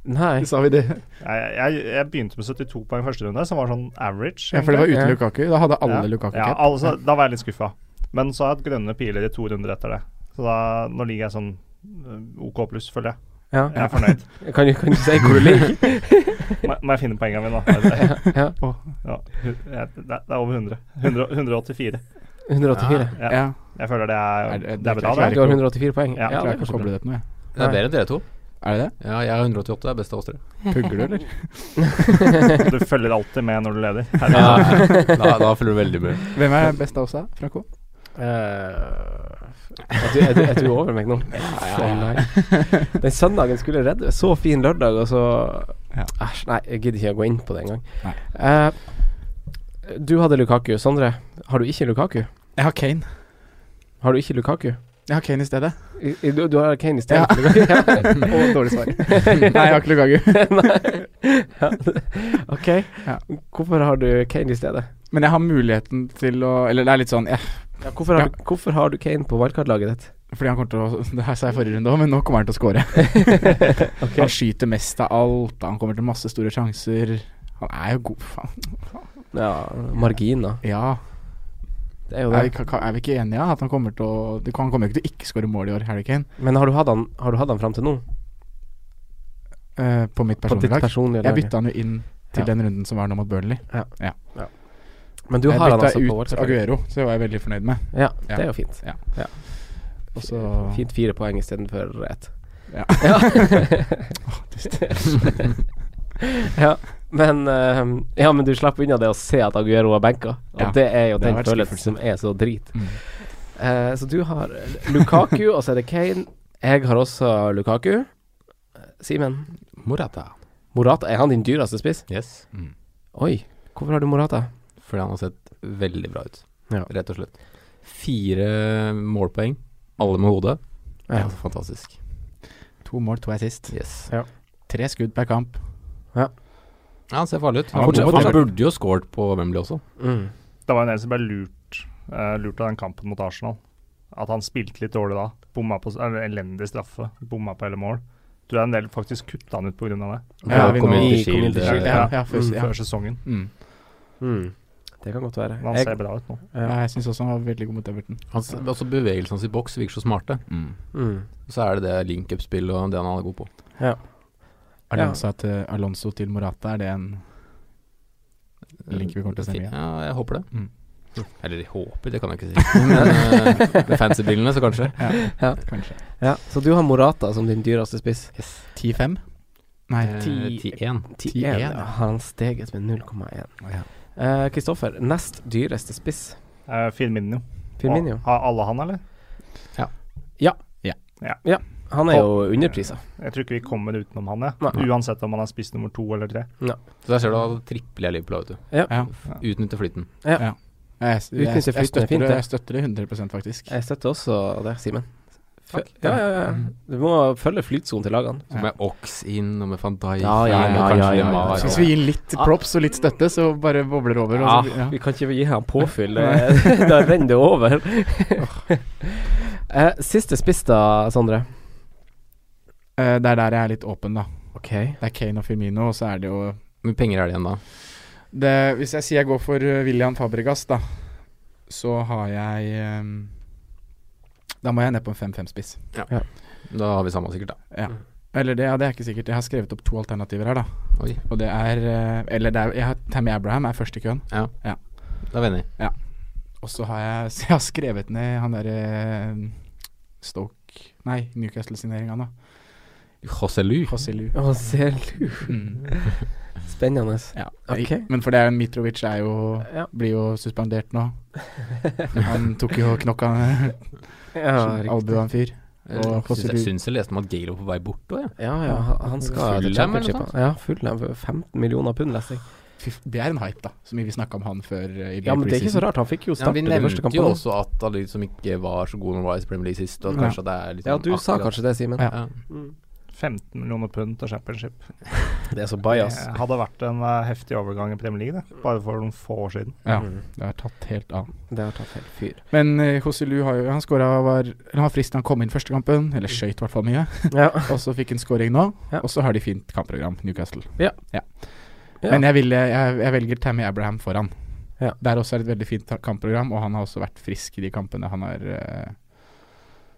S2: Nei.
S3: Sa vi det?
S4: Nei, Jeg, jeg, jeg begynte med 72 poeng første runde, som var sånn average.
S3: Ja, for det var uten
S4: egentlig.
S3: Lukaku. Da hadde alle
S4: Ja.
S3: Lukaku
S4: Ja,
S3: cap.
S4: altså, da var jeg litt skuffa. Men så har jeg hatt grønne piler i to runder etter det. Så da, nå ligger jeg sånn eh, OK pluss, føler jeg.
S2: Ja.
S4: Jeg er fornøyd.
S2: Kan, du- kan du si hvor du ligger?
S4: Må må jeg finne poengene mine, da?
S2: Ja.
S4: Ja, jeg- det er- det er over 100. 100 184.
S2: 184.
S4: Ja.
S3: Ja.
S4: Jeg føler det
S3: Er
S4: er,
S3: det-
S4: det er bra,
S3: klarer
S4: det.
S2: Du har 184 poeng?
S4: Ja,
S2: Ja,
S3: Klarer
S2: det er
S3: ikke å
S2: kanskje bra.
S3: koble det på noe, jeg.
S5: Det er bedre enn dere to.
S3: Er det det?
S5: Ja, jeg er 188, det er best av oss tre.
S3: Pugger du, eller?
S4: Du følger alltid med når du leder.
S5: Ja, da, da følger du veldig med.
S3: Hvem er best av oss, da? Franco?
S2: Eh, er, du, er, du, er du over meg nå? Nei. Den søndagen skulle jeg redde. Så fin lørdag, og så
S3: Ja.
S2: Æsj, nei, jeg gidder ikke å gå inn på det engang.
S3: Nei.
S2: Uh, du hadde Lukaku. Sondre, har du ikke Lukaku?
S3: Jeg har Kane.
S2: Har du ikke Lukaku?
S3: Jeg har Kane i stedet.
S2: I, i, du, du har Kane i stedet.
S3: Ja.
S2: for Lukaku. Ja.
S3: Og dårlig svar. Nei, jeg har ikke Lukaku.
S2: Nei. Ja. Ok.
S3: Ja.
S2: Hvorfor har du Kane i stedet?
S3: Men jeg har muligheten til å Eller det er litt sånn eh,
S2: hvorfor, har
S3: Ja.
S2: du, hvorfor har du Kane på wildcard-laget ditt?
S3: Fordi han kommer til å Det her sa jeg forrige runde òg, men nå kommer han til å score. Han skyter mest av alt. Han kommer til masse store sjanser. Han er jo god, faen.
S2: Ja, marginer.
S3: Ja.
S2: Det er jo
S3: Er vi,
S2: det.
S3: ka- ka- er vi ikke enige at han kommer til å det- Han kommer jo ikke til å ikke skåre mål i år, Harry Kane.
S2: Men har du hatt han, har du hatt han fram til nå?
S3: Eh, på mitt
S2: På
S3: personlige
S2: ditt
S3: lag.
S2: personlige
S3: Jeg
S2: lag?
S3: bytta han jo inn til
S2: Ja.
S3: den runden som var nå mot Burnley.
S2: Men du
S3: jeg
S2: har han
S3: bytta
S2: altså på
S3: ut
S2: wildcard-laget?
S3: Aguero, så det var jeg veldig fornøyd med.
S2: Ja,
S3: Ja.
S2: det er jo fint.
S3: Ja.
S2: Ja.
S3: Og så-
S2: Fint fire poeng istedenfor ett.
S3: Ja.
S2: ja. Men eh, Ja, men du slapp unna det å se at Aguero har benka. Og
S3: Ja.
S2: det er jo
S3: Det
S2: den
S3: har vært
S2: følelsen som er så drit.
S3: Mm.
S2: Eh, så du har Lukaku, og så er det Kane. Jeg har også Lukaku. Simen,
S5: Morata.
S2: Morata, er han din dyreste spiss?
S5: Yes.
S2: Oi, hvorfor har du Morata?
S5: Fordi han har sett veldig bra ut,
S2: Ja.
S5: rett og slett. Fire målpoeng, alle med hodet. Det er
S2: Ja.
S5: altså fantastisk.
S3: To mål, to assist.
S5: Yes.
S3: Tre skudd per kamp.
S5: Ja, han ser farlig ut.
S3: Han
S5: Han,
S3: var
S5: fortsatt,
S3: god.
S5: han burde jo scoret på Wembley også.
S2: Mm.
S4: Det var en del som ble lurt, eh, lurt av den kampen mot Arsenal. At han spilte litt dårlig da. Bomma på eller, elendig straffe. Bomma på hele mål. Tror jeg en del faktisk kutta han ut pga. det.
S3: Ja,
S5: Og
S3: vi
S5: kom
S3: nå-
S5: inn til
S2: i- kom inn til
S5: Shield,
S2: Shield,
S5: eh,
S3: Ja, ja, for,
S2: Mm.
S3: ja.
S4: Før sesongen.
S3: Mm.
S2: Mm. Det kan godt være.
S4: Men han
S2: Jeg-
S4: ser bra ut nå.
S2: Ja.
S3: ja jeg syns også han var veldig god mot Everton.
S5: Hans, altså Bevegelsene hans i boks virker så smarte.
S2: mm.
S5: Så er det det link-up-spill og det han er god på.
S3: Alonso, til, Alonso til Morata, er det en Link vi kommer til å se mye.
S5: Ja, jeg håper det.
S3: Mm.
S5: Eller jeg håper, det kan jeg ikke si. Men eh, med fancy-brillene, så kanskje.
S2: Ja.
S3: Kanskje.
S2: Ja, så du har Morata som din dyreste spiss.
S3: 10-5? Nei,
S5: Eh, 10-1.
S2: 10-1 ja. har han steget med 0,1.
S3: Ja.
S2: Eh, Kristoffer, nest dyreste spiss.
S4: Uh, Firmino.
S2: Firmino.
S4: Og- Har alle han, eller?
S2: Han er jo underprisa.
S4: Jeg tror ikke vi kommer utenom han,
S2: Nei.
S4: jeg. Uansett om han er spiss nummer to eller tre.
S5: Så der ser du at tripler jeg Liverpool, vet du.
S2: Ja.
S3: Ja.
S5: Utnytter flyten.
S3: Jeg, jeg, jeg,
S2: Utnytter flyten
S3: støtter
S2: fint,
S3: det,
S2: det.
S3: jeg støtter det 100 faktisk.
S2: Jeg støtter også det, Simen. Fø-
S5: Takk.
S2: Ja, ja, ja. Du må følge flytsonen til lagene.
S5: Så
S3: Ja.
S5: med Ox inn, og med van Dijk
S2: Ja, ja,
S5: inn, og
S2: ja,
S5: kanskje
S2: ja, ja, ja.
S5: Lemar.
S3: Så hvis vi gir litt props og litt støtte, så bare bobler det over.
S2: Ja,
S3: Og så, ja.
S2: Vi kan ikke gi ham påfyll. det- da renner det over. Eh, siste spiss, da, Sondre.
S3: Eh, Det er der jeg er litt åpen, da.
S2: Ok.
S3: Det er Kane og Firmino, og så er det jo
S5: Hvor mye penger er det igjen da?
S3: det, Hvis jeg sier jeg går for eh, William Fabregas, da, så har jeg ehm, Da må jeg ned på en 5-5-spiss.
S5: Da har vi samme sikkert, da.
S3: Ja. Eller det, ja, det er ikke sikkert. Jeg har skrevet opp to alternativer her, da.
S5: Oi,
S3: Og det er eh, Eller det er, jeg har, Tammy Abraham er først i køen.
S5: da er vi enige.
S3: Og så har jeg, så jeg har skrevet ned han derre eh, Stoke Nei, Newcastle-signeringa, da.
S5: Joselu.
S3: Hosselu.
S2: Å, ser du.
S3: Mm.
S2: Spennende.
S3: Ja.
S2: Ok.
S3: Men for det er jo Mitrovic er jo
S2: Ja.
S3: blir jo suspendert nå. Han tok jo knokka
S2: Ja, riktig.
S3: albua en fyr. Og
S5: Jeg Eh, syns-
S3: Joselu.
S5: jeg syns jeg leste om at Gale var på vei bort òg, jeg.
S2: Ja, ja, han han skal til
S5: Fulham,
S2: championship.
S5: eller noe
S2: han. Ja, Fulham for 15 millioner pund, leser jeg.
S3: Fy, f- det er en hype, da, som vi snakka om han før. eh, i
S2: Ja, men det er ikke så
S3: preseason.
S2: rart. Han fikk jo
S5: Ja,
S2: starte
S5: vi
S2: de første
S5: nevnte jo
S2: kampene.
S5: også at alle de som ikke var så gode når de var i Premier League sist, og at
S3: Ja.
S5: kanskje at det er litt
S2: Ja,
S5: sånn
S2: du sa
S5: akkurat-
S2: kanskje det, Simen.
S3: Ja.
S5: Ja.
S2: Mm.
S4: 15 millioner pund til championship.
S2: Det er så
S4: Det
S2: bajas.
S4: hadde vært en eh, heftig overgang i Premier League, det. Bare for noen få år siden.
S3: Ja,
S2: Mm.
S3: det har tatt helt av.
S2: Det har tatt helt fyr.
S3: Men eh, Joselu har jo Han skåra var Eller han var frist da han kom inn første kampen, eller skøyt i hvert fall mye.
S2: Ja.
S3: Og så fikk han scoring nå,
S2: Ja.
S3: og så har de fint kampprogram, Newcastle.
S2: Ja. Ja.
S3: Men jeg, ville, jeg, jeg velger Tammy Abraham foran.
S2: Ja.
S3: Der også er det et veldig fint ta- kampprogram, og han har også vært frisk i de kampene han har eh,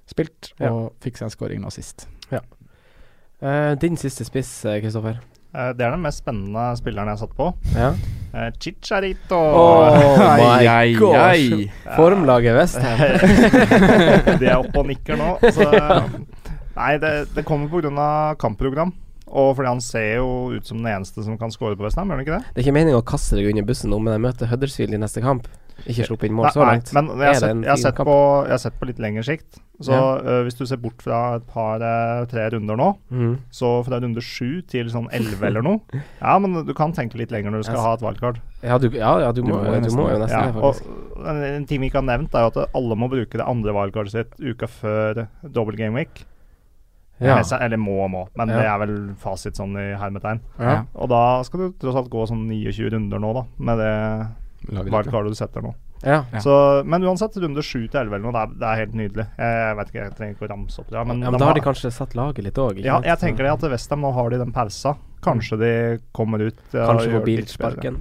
S3: spilt,
S2: Ja.
S3: og fikk seg en scoring nå sist.
S2: Eh, din siste spiss, eh, Kristoffer.
S4: Eh, det er den mest spennende spilleren jeg har satt på.
S2: Ja.
S4: Eh, Chicharito!
S3: my gosh.
S2: oh Formlaget Westham.
S4: De er oppe og nikker nå. Så. eh, Nei, det, det kommer pga. kampprogram. Og fordi han ser jo ut som den eneste som kan score på Westham, gjør han ikke det?
S2: Det er ikke meningen å kaste deg under bussen nå, men jeg møter Huddersfield i neste kamp. Ikke sluppet inn mål
S4: Nei,
S2: så langt.
S4: Nei, men jeg har,
S2: Er det
S4: sett,
S2: en
S4: jeg, har
S2: fin
S4: sett
S2: kamp?
S4: på, jeg har sett på litt lengre sikt. Så
S2: Ja.
S4: øh, hvis du ser bort fra et par, eh, tre runder nå,
S2: Mhm.
S4: så fra runde sju til sånn elleve eller noe Ja, men du kan tenke litt lenger når du skal
S2: Jeg
S4: ha et wildcard.
S2: Ja, du, ja, ja, du, må,
S3: må jo
S2: du
S3: nesten
S2: må jo
S3: det.
S2: nesten
S4: Ja,
S2: det,
S4: og
S2: faktisk.
S4: en, en ting vi ikke har nevnt, er jo at alle må bruke det andre wildcardet sitt uka før double game week.
S2: Ja.
S4: Med seg- Eller må og må, men
S2: Ja.
S4: det er vel fasit sånn i hermetegn.
S3: Ja.
S2: Ja.
S4: Og da skal du tross alt gå sånn 29 runder nå, da, med det
S5: Lager dette.
S4: wildcardet du setter nå.
S2: Ja.
S3: Ja.
S4: Så, men uansett, runde 7 til 11 eller noe, det er, det er helt nydelig. Jeg, jeg vet ikke, jeg trenger ikke å ramse opp det. ja,
S2: Men,
S4: Men,
S2: ja, men da har de kanskje satt laget litt òg.
S4: ja, jeg tenker det at Westham nå har de den pausa. Kanskje de kommer ut. ja, og
S2: Mm. Kanskje
S4: gjør
S2: på
S4: det litt bedre.
S2: bilsparken.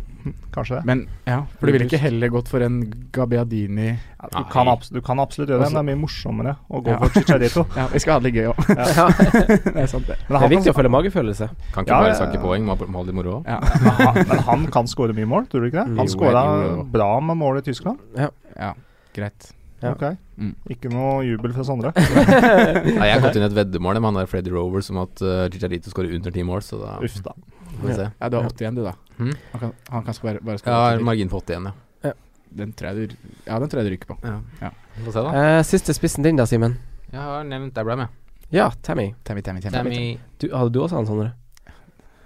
S4: Kanskje det.
S3: Men ja, for du ville ikke heller gått for en Gabiadini
S4: Ja, du, kan abs- du kan absolutt gjøre det, men det er mye morsommere å gå
S3: Ja.
S4: for Chicharito.
S3: Ja, vi skal ha det litt gøy òg.
S2: Ja.
S3: det er sant, det.
S4: Men
S2: Det er
S4: han,
S2: viktig å
S4: kan,
S2: følge magefølelse.
S5: Kan ikke
S4: Ja,
S5: bare
S4: ja,
S5: sanke
S4: ja.
S5: poeng, må må ha litt moro òg.
S3: Ja.
S4: men han, men han kan skåre mye mål, tror du ikke det?
S2: Jo,
S4: Han skåra
S5: jo, jo.
S4: bra med mål i Tyskland.
S3: ja, greit.
S2: Ja.
S4: Ok.
S3: Mm.
S4: Ikke noe jubel fra Sondre.
S5: Nei, Jeg har gått inn i et veddemål med han der Freddy Rovers om at uh, Chicharito skårer under ti mål, så da
S4: Uff da.
S5: får vi se.
S3: Ja, du har 80 igjen, du, da.
S5: Mhm.
S3: Han kan, han kan bare, bare
S5: Jeg har
S3: skåre.
S5: margin på 81, ja.
S3: den tror jeg du Ja, den tror jeg du rykker på.
S5: ja.
S3: Ja.
S5: Få se, da.
S2: Eh, siste spissen din da, Simen.
S5: Jeg har nevnt Abraham, jeg.
S2: Ja, Tammy.
S3: Tammy, Tammy, Tammy.
S5: Tammy
S2: Du, hadde du også han, Sondre?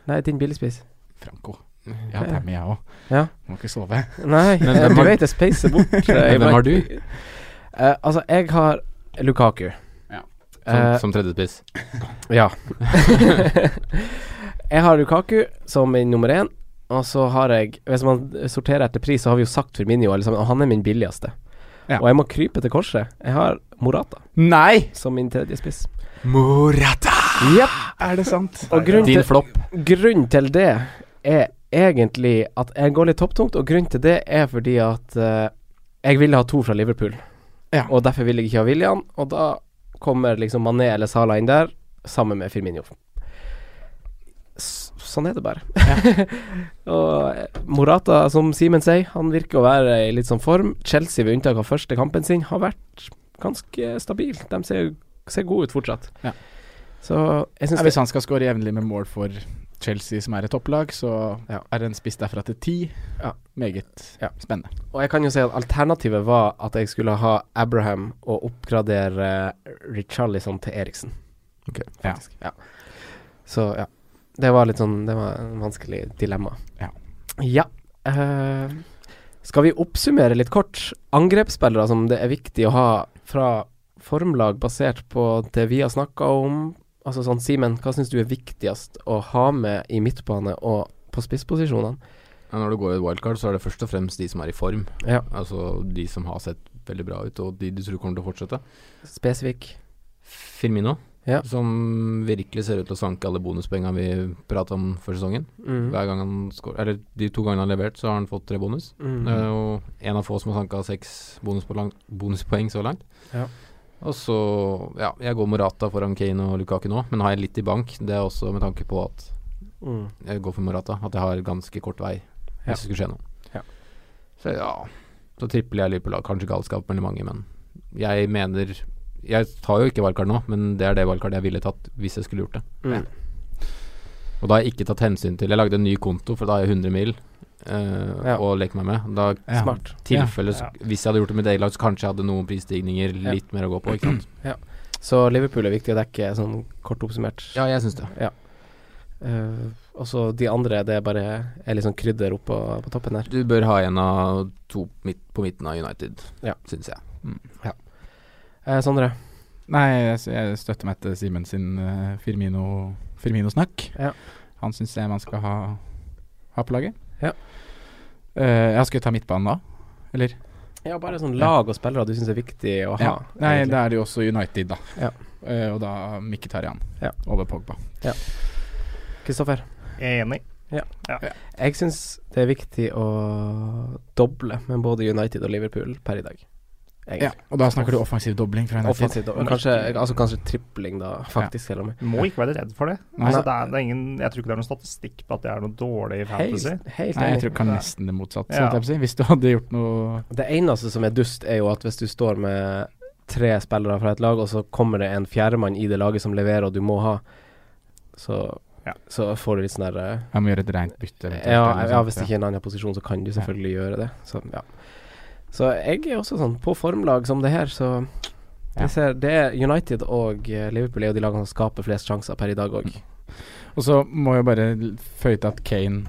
S2: Nei, din billigspiss.
S3: Franco. Mm. Ja, Tammy, jeg òg.
S2: Ja.
S3: Må ikke sove.
S2: Nei,
S5: Men hvem
S2: du
S5: har-
S2: vet jeg spacer bort. eh,
S5: Men hvem
S2: iblant.
S5: har du?
S2: Eh, altså, jeg har Lukaku.
S3: Ja.
S5: som,
S2: Eh,
S5: som tredjespiss.
S2: ja. jeg har Lukaku som min nummer én, og så har jeg Hvis man sorterer etter pris, så har vi jo sagt Firminio, alle sammen, og han er min billigste.
S3: Ja.
S2: Og jeg må krype til korset. Jeg har Morata
S3: Nei!
S2: som min tredje spiss.
S5: Morata!
S2: Ah! Jepp.
S3: Er det sant?
S2: Og grunnen
S5: Din
S2: til,
S5: flopp.
S2: grunnen til det er egentlig at jeg går litt topptungt, og grunnen til det er fordi at eh, jeg ville ha to fra Liverpool.
S3: Ja.
S2: Og derfor ville jeg ikke ha William, og da kommer liksom Mané eller Salah inn der, sammen med Firmino. S sånn er det bare. og eh, Morata, som Simen sier, han virker å være i litt sånn form. Chelsea, ved unntak av første kampen sin, har vært ganske stabil. De ser, ser gode ut fortsatt.
S3: Ja.
S2: Så jeg
S3: Ja,
S2: syns
S3: hvis han skal skåre jevnlig med mål for Chelsea, som er et topplag, så
S2: Ja.
S3: er det en spiss derfra til ti.
S2: Ja.
S3: Meget
S2: Ja.
S3: spennende.
S2: Og jeg kan jo si at alternativet var at jeg skulle ha Abraham og oppgradere Richarlison til Eriksen.
S5: Ok.
S2: Faktisk. Ja. Så ja. Det var litt sånn Det var en vanskelig dilemma.
S3: Ja.
S2: Ja. eh, skal vi oppsummere litt kort? Angrepsspillere som det er viktig å ha fra formlag basert på det vi har snakka om. Altså sånn, Simen, hva syns du er viktigst å ha med i midtbane og på spissposisjonene?
S5: Ja, Når du går i et wildcard, så er det først og fremst de som er i form.
S2: Ja.
S5: Altså de som har sett veldig bra ut, og de du tror kommer til å fortsette.
S2: Spesifikk.
S5: Firmino,
S2: Ja.
S5: som virkelig ser ut til å sanke alle bonuspoengene vi prata om før sesongen.
S2: Mm.
S5: Hver gang han skår, eller De to gangene han har levert, så har han fått tre bonus.
S2: Mm.
S5: Eh, og en av få som har sanka seks bonuspoeng, bonuspoeng så langt.
S2: Ja.
S5: Og så, ja, jeg går Morata foran Kane og Lukaku nå, men har jeg litt i bank. Det er også med tanke på at
S2: Mm.
S5: jeg går for Morata, at jeg har ganske kort vei
S2: Ja.
S5: hvis det skulle skje noe.
S2: Ja.
S5: Så ja, så tripler jeg Liverpool. da. Kanskje galskap mellom mange, men jeg mener Jeg tar jo ikke wildcard nå, men det er det wildcardet jeg ville tatt hvis jeg skulle gjort det.
S2: Mm.
S5: Og da har jeg ikke tatt hensyn til Jeg lagde en ny konto, for da har jeg 100 mil eh,
S2: Ja.
S5: å leke meg med. Da
S3: Ja.
S2: Smart.
S5: tilfelle
S4: Ja.
S5: sk- Hvis jeg hadde gjort det med Daylight, så kanskje jeg hadde noen prisstigninger
S2: Ja.
S5: litt mer å gå på, ikke sant.
S2: Så Liverpool er viktig å dekke, sånn kort oppsummert.
S5: Ja, jeg syns det.
S2: Eh, og så de andre, det er bare er litt sånn krydder oppå på toppen der.
S5: Du bør ha en av to midt, på midten av United,
S2: Ja.
S5: syns jeg.
S2: Eh, Sondre,
S3: Nei, jeg, s- jeg støtter meg til Simen sin eh, Firmino, Firmino-snakk.
S2: Ja.
S3: Han syns jeg man skal ha, ha på laget.
S2: Ja.
S3: Eh, ja, skal vi ta midtbanen da? Eller?
S2: Ja, bare sånn lag og spillere du syns er viktig å ha.
S3: Ja. Nei,
S2: egentlig.
S3: da er det jo også United, da.
S2: Ja.
S3: Eh, og da Mkhitaryan
S2: Ja.
S3: over Pogba.
S2: Kristoffer,
S4: Jeg er enig.
S2: jeg syns det er viktig å doble med både United og Liverpool per i dag. Egentlig.
S3: Ja, og da snakker du offensiv dobling fra United.
S2: Offensivt. og Kanskje, altså kanskje tripling, da, faktisk. Selv om
S4: Du må ikke være redd for det.
S3: Nei.
S4: Altså, det er, det er ingen, jeg tror ikke det er noen statistikk på at det er noe dårlig i fantasy.
S2: Helt, helt
S3: Nei, jeg
S2: enig.
S3: tror kan nesten det motsatte,
S4: Ja.
S3: holdt jeg på å si. Hvis du hadde gjort noe
S2: Det eneste som er dust, er jo at hvis du står med tre spillere fra et lag, og så kommer det en fjerdemann i det laget som leverer, og du må ha, så,
S4: Ja.
S2: så får du litt sånn derre
S3: Jeg må gjøre et rent bytte. eventuelt,
S2: Ja,
S3: eller noe
S2: ja,
S3: sånt,
S2: hvis det ikke
S3: ja.
S2: er en annen posisjon, så kan du selvfølgelig gjøre det. Så, ja. så jeg er også sånn på formlag som det her, så
S3: Ja.
S2: jeg ser, det er United og eh, Liverpool er jo de lagene som skaper flest sjanser per i dag òg.
S3: Og så må jeg bare l- føye til at Kane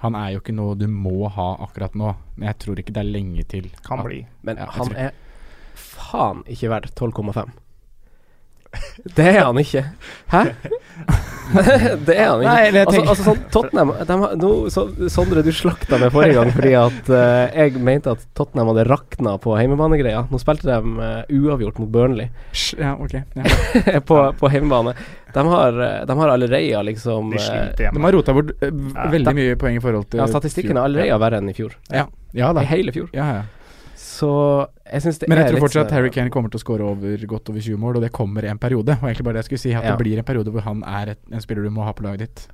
S3: Han er jo ikke noe du må ha akkurat nå. Men jeg tror ikke det er lenge til.
S4: Kan
S3: at-
S4: bli.
S2: Men
S3: Ja, jeg
S2: han
S3: tror-
S2: er faen ikke verdt 12,5. Det er han ikke. Hæ? det er han ikke.
S3: Nei, eller jeg
S2: altså,
S3: tenker-
S2: altså sånn Tottenham de har, nå, så, Sondre, du slakta meg forrige gang fordi at eh, jeg mente at Tottenham hadde rakna på heimebanegreia. Nå spilte de eh, uavgjort mot Burnley
S3: Sj, Ja, ok. Ja.
S2: på, på heimebane. De har, eh, de har allerede liksom
S4: De
S2: eh,
S4: sliter
S3: De
S4: hjemme.
S3: har rota bort eh, v-
S4: Ja.
S3: veldig mye poeng i forhold til
S2: ja, Statistikken er
S3: fjor.
S2: allerede verre enn i fjor.
S3: Ja, ja da.
S2: I hele fjor.
S3: Ja, ja.
S2: Så jeg syns det
S3: Men
S2: er
S3: jeg tror
S2: litt
S3: fortsatt at
S2: sånn-
S3: Harry Kane kommer til å skåre over godt over 20 mål, og det kommer i en periode. Og egentlig bare det jeg skulle si, at
S2: Ja.
S3: det blir en periode hvor han er et, en spiller du må ha på laget ditt.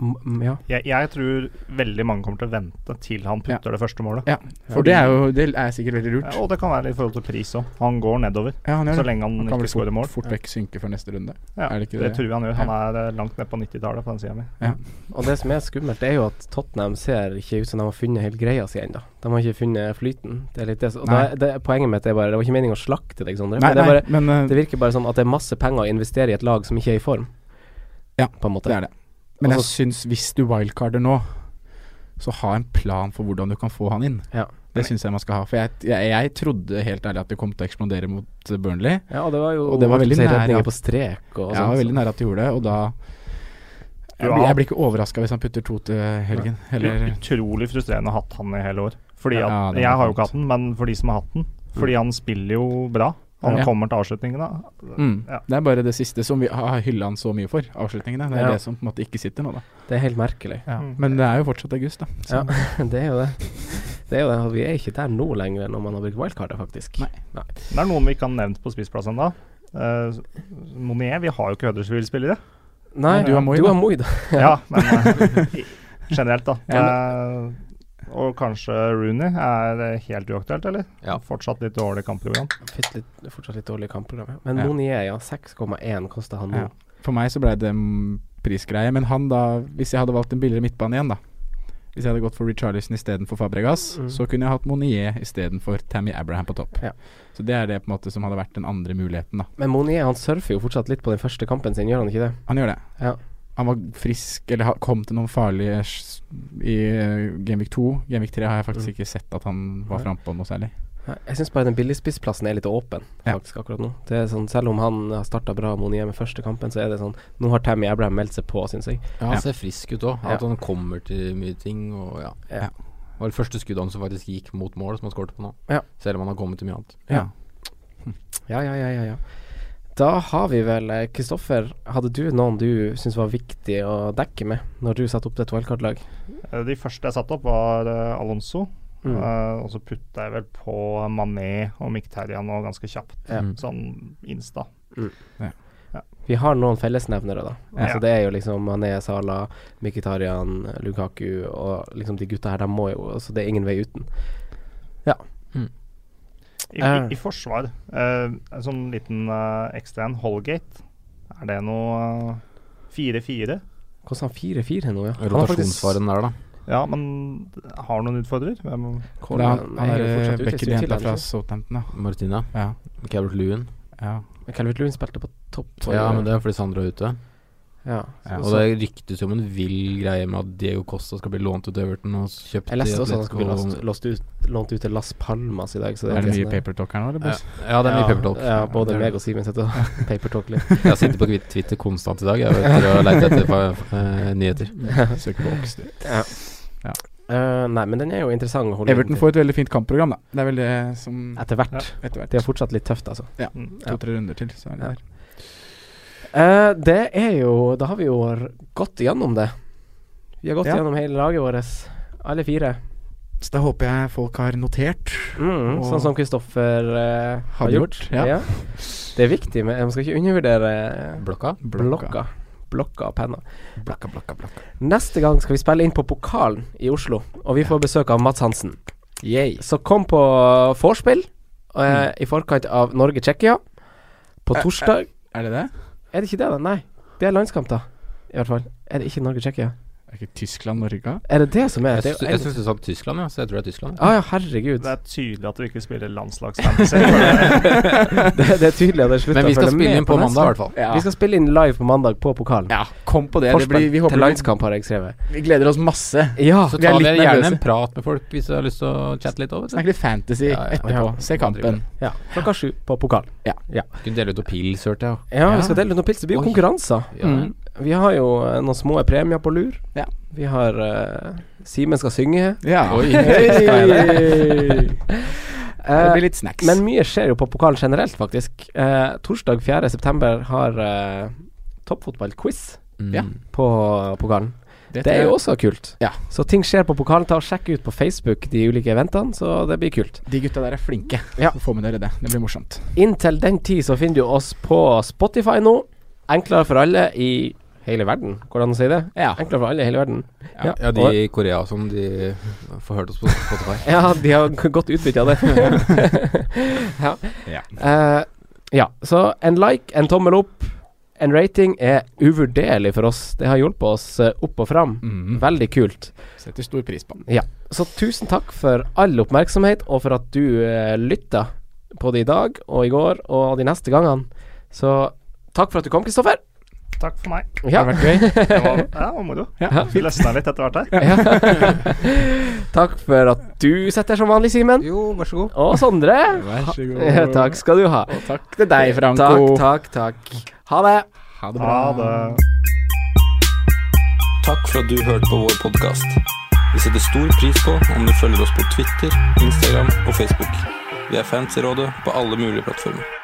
S2: M- Ja.
S4: Jeg, jeg tror veldig mange kommer til å vente til han putter det første målet.
S3: Ja, For det er jo det er sikkert veldig
S4: Ja,
S3: lurt.
S4: Og det kan være i forhold til pris òg. Han går nedover
S3: Ja, han
S4: så
S3: gjør det.
S4: lenge han,
S3: Han kan vel
S4: ikke
S3: fort,
S4: skårer mål.
S3: fort vekk synke før neste runde.
S4: Ja,
S3: Er det
S4: det,
S3: ikke det?
S4: tror jeg han gjør. Han er eh, langt ned på 90-tallet på den sida mi.
S2: Og det som er skummelt, det er jo at Tottenham ser ikke ut som de har funnet helt greia si ennå. De har ikke funnet flyten. Det er litt det. som- Og
S3: Nei.
S2: det, det, poenget mitt er bare Det var ikke meningen å slakte deg, Sondre. men
S3: Nei,
S2: det, er
S3: nei,
S2: bare,
S3: men eh,
S2: det virker bare sånn at det er masse penger å investere i et lag som ikke er i form.
S3: Ja,
S2: på en måte.
S3: Det er det. Men jeg
S2: Altså-
S3: syns hvis du wildcarder nå, så ha en plan for hvordan du kan få han inn.
S2: Ja.
S3: Det syns jeg man skal ha. For jeg, jeg, jeg trodde helt ærlig at det kom til å eksplodere mot eh, Burnley.
S2: Ja, og det var jo
S3: Og det var veldig
S2: si,
S3: nære
S2: redninger
S3: at-
S2: på strek og sånn,
S3: jeg var
S2: sånt.
S3: veldig nære at de gjorde det, og da jeg,
S4: Ja.
S3: blir- jeg blir ikke overraska hvis han putter to til helgen. Eller
S4: Utrolig frustrerende å ha hatt han i hele år. Fordi at,
S3: Ja, det er
S4: Jeg har
S3: sant. Mm.
S4: jo ikke hatt den, men for de som har hatt den. Fordi han spiller jo bra. Han
S3: Ja.
S4: kommer til avslutningen, da.
S3: mm.
S4: Ja.
S3: Det er bare det siste som vi har hylla han så mye for, avslutningene. Det er
S2: Ja.
S3: det som på en måte ikke sitter nå, da.
S2: Det er helt merkelig.
S4: Mm.
S3: Men det er jo fortsatt august, da. Så
S2: Ja,
S3: sånn.
S2: det er jo det. Det er jo det. Vi er ikke der nå lenger når man har brukt wildcardet, faktisk.
S3: Nei.
S4: Det er noen vi ikke har nevnt på spissplass ennå. Uh, Monier, vi har jo ikke Huddersfield-spillere.
S2: Nei,
S3: Du har Moi,
S2: du
S3: da.
S2: har Moi, da.
S4: Ja, men eh, generelt, da.
S3: Ja,
S4: Eh, og kanskje Rooney er det helt uaktuelt, eller?
S5: Ja.
S4: Fortsatt litt dårlig kampprogram.
S2: Fikk litt, fortsatt litt dårlig kampprogram. ja. Men
S3: Ja.
S2: Monier, ja. 6,1 koster han nå.
S3: Ja. For meg så blei det mm, prisgreie, men han da Hvis jeg hadde valgt en billigere midtbane igjen, da Hvis jeg hadde gått for Richarlison istedenfor Fabregas,
S2: Mm.
S3: så kunne jeg hatt Monier istedenfor Tammy Abraham på topp.
S2: Ja.
S3: Så det er det på en måte som hadde vært den andre muligheten, da.
S2: Men Monier han surfer jo fortsatt litt på den første kampen sin, gjør han ikke det?
S3: Han gjør det.
S2: Ja.
S3: Han var frisk, eller ha- kom til noen farlige s- i eh, Genvik 2. Genvik 3 har jeg faktisk
S2: Mm.
S3: ikke sett at han var
S2: Nei.
S3: frampå noe særlig.
S2: Nei, Jeg syns bare den billigspissplassen er litt åpen
S3: Ja.
S2: faktisk akkurat nå. Det er sånn, Selv om han har starta bra mot Niemi første kampen, så er det sånn Nå har Tammy Abraham meldt seg på, syns jeg.
S5: Ja,
S3: Ja.
S5: han ser frisk ut òg. At
S2: Ja.
S5: han kommer til mye ting og ja.
S2: Ja.
S5: Det var det første skuddet han som faktisk gikk mot mål, som han skåret på nå.
S2: Ja.
S5: Selv om han har kommet til mye annet.
S2: Ja. Ja, ja, ja, ja. ja. Da har vi vel eh, Kristoffer, hadde du noen du syns var viktig å dekke med når du satte opp ditt wildcard-lag?
S4: Eh, de første jeg satte opp, var eh, Alonso.
S2: Mm.
S4: Eh, og så putta jeg vel på Mané og Mkhitaryan nå ganske kjapt.
S2: Ja.
S5: Mm.
S4: Sånn insta.
S2: Vi har noen fellesnevnere, da. Altså
S4: Ja.
S2: Det er jo liksom Mané, Sala, Mkhitarian, Lukaku og liksom de gutta her. De må jo Så det er ingen vei uten.
S4: I,
S2: Ja.
S4: i, i forsvar, eh, en sånn liten eh, ekstra en, Holgate. Er det noe eh, 4-4?
S2: Koster han 4-4 nå, ja? Han har faktisk-
S5: Rotasjonsfaren der, da.
S4: ja, men har noen utfordrer? Hvem,
S2: Hvordan-
S3: Da, han
S2: er
S3: er
S2: jo
S3: eh,
S2: fortsatt
S3: Becker
S2: utvisningstid, er
S3: jenta
S2: han
S3: fra
S2: ikke?
S3: Southampton, da.
S5: Martina.
S3: Ja.
S5: Calvert Lewin.
S3: ja.
S2: Men Calvert Lewin spilte på topp.
S5: Ja, men det er fordi Sandra er ute.
S2: Ja.
S5: Ja,
S2: Så-
S5: og det ryktes jo om en vill greie med at Diego Costa skal bli lånt ut til Everton og s- kjøpt
S2: Jeg leste
S5: i
S2: også at han
S5: Atletico.
S2: skulle bli låst, låst ut, lånt ut til Las Palmas i dag. Så det
S3: Er det
S2: ikke
S3: mye
S2: sånn-
S3: papertalk her nå, eller?
S5: ja,
S3: boys?
S5: ja, det er mye
S2: Ja,
S5: papertalk.
S2: Ja, både
S5: Det er-
S2: meg og Simen sitter og papertalker litt.
S5: Jeg har sittet på Kvit- Twitter konstant i dag jeg vet, for å leite etter fa- eh, nyheter.
S3: Søker på Oxley.
S2: Eh, nei, men den er jo interessant å holde
S3: Everton
S2: inn til.
S3: får et veldig fint kampprogram, da. Det er vel det som
S2: etter hvert.
S3: etter hvert.
S2: De har fortsatt litt tøft, altså. ja.
S3: To-tre runder til, så er det
S2: Ja.
S3: der.
S2: Eh, det er jo Da har vi jo r- gått igjennom det. Vi har gått
S3: Ja.
S2: igjennom hele laget vårt, alle fire.
S3: Så da håper jeg folk har notert.
S2: Mm,
S3: Og-
S2: sånn som Kristoffer eh, har
S3: Har
S2: gjort.
S3: gjort, ja.
S2: Det er viktig, men man skal ikke undervurdere
S5: Blokka?
S2: blokka. Blokka og penna.
S3: Blokka, blokka, blokka.
S2: Neste gang skal vi spille inn på Pokalen i Oslo, og vi får besøk av Mats Hansen.
S3: Yay.
S2: Så kom på vorspiel
S5: Mm.
S2: eh, i forkant av Norge-Tsjekkia. På
S3: Eh, eh.
S2: torsdag
S3: Er det det?
S2: Er det ikke det, da? Nei. Det er landskamp, da. I hvert fall. Er det ikke Norge-Tsjekkia?
S3: Er ikke Tyskland Norge?
S2: Er det det som er det?
S5: Jeg, sy- jeg syns du sa Tyskland, ja, så jeg tror det er Tyskland.
S2: ah, ja, herregud.
S4: Det er tydelig at du ikke spiller landslagsfantasy. for
S2: det,
S4: det-
S2: det er tydelig at jeg slutta
S5: Men vi skal spille inn på mandag, i hvert fall.
S2: Vi skal spille inn live på mandag på pokalen.
S3: Ja, kom på det. det
S2: Forspill
S3: blir, vi,
S2: til
S3: håper vi,
S2: landskamp, har jeg skrevet.
S3: vi gleder oss masse.
S2: Ja.
S5: Så
S3: vi er
S5: tar vi
S3: litt
S5: gjerne
S3: nervøse.
S5: en prat med folk hvis du har lyst til å chatte litt over.
S3: Snakke litt fantasy
S5: Ja, ja.
S3: etterpå.
S2: Ja.
S3: Se kampen.
S2: ja. Klokka sju på pokalen.
S5: Kunne dele ut noen pils, hørte jeg.
S2: Ja,
S3: Ja.
S2: vi skal dele ut noen pils. Det blir jo
S5: Oi.
S2: konkurranser.
S5: Ja,
S3: Mm.
S2: Vi har jo eh, noen små premier på lur.
S3: Ja.
S2: Vi har eh, Simen skal synge.
S3: Ja.
S5: Oi.
S3: det
S2: Eh,
S3: blir litt snacks.
S2: Men mye skjer jo på pokalen generelt, faktisk. Eh, torsdag 4.9 har eh, toppfotballquiz
S5: Mm.
S3: Ja.
S2: på pokalen.
S3: det,
S2: Det er jo også kult.
S3: Ja.
S2: Så ting skjer på pokalen. Ta og Sjekk ut på Facebook de ulike eventene, så det blir kult.
S3: De gutta der er flinke.
S2: Ja.
S3: Så får med dere det. Det blir morsomt.
S2: Inntil den tid så finner du oss på Spotify nå. Enklere for alle i hele verden, går det an å si det?
S3: Ja.
S2: Enklere for alle i hele verden.
S5: Ja, ja, de i Korea som de får hørt oss på Spotify.
S2: Ja, de har g- godt utbytte av det. ja.
S5: Ja.
S2: Eh, ja, så en like, en tommel opp, en rating er uvurderlig for oss. Det har hjulpet oss eh, opp og fram.
S5: Mm.
S2: Veldig kult.
S3: Setter stor pris på den.
S2: Så tusen takk for all oppmerksomhet, og for at du uh, lytta på det i dag og i går og de neste gangene. Så takk for at du kom, Kristoffer.
S4: Takk for meg.
S2: Ja.
S3: Har det vært gøy?
S4: Det var, ja, det var moro.
S3: Ja.
S4: Vi løsna litt etter hvert her.
S2: Ja. takk for at du sitter her som vanlig, Simen.
S5: Jo, vær så god.
S2: Og Sondre.
S3: Vær så god.
S2: Ja, takk skal du ha.
S3: Og takk til deg, Franco.
S2: Takk, takk, takk. Ha det.
S3: Ha det bra.
S4: Ha det.
S1: Takk for at du hørte på vår podkast. Vi setter stor pris på om du følger oss på Twitter, Instagram og Facebook. Vi er fans i rådet på alle mulige plattformer.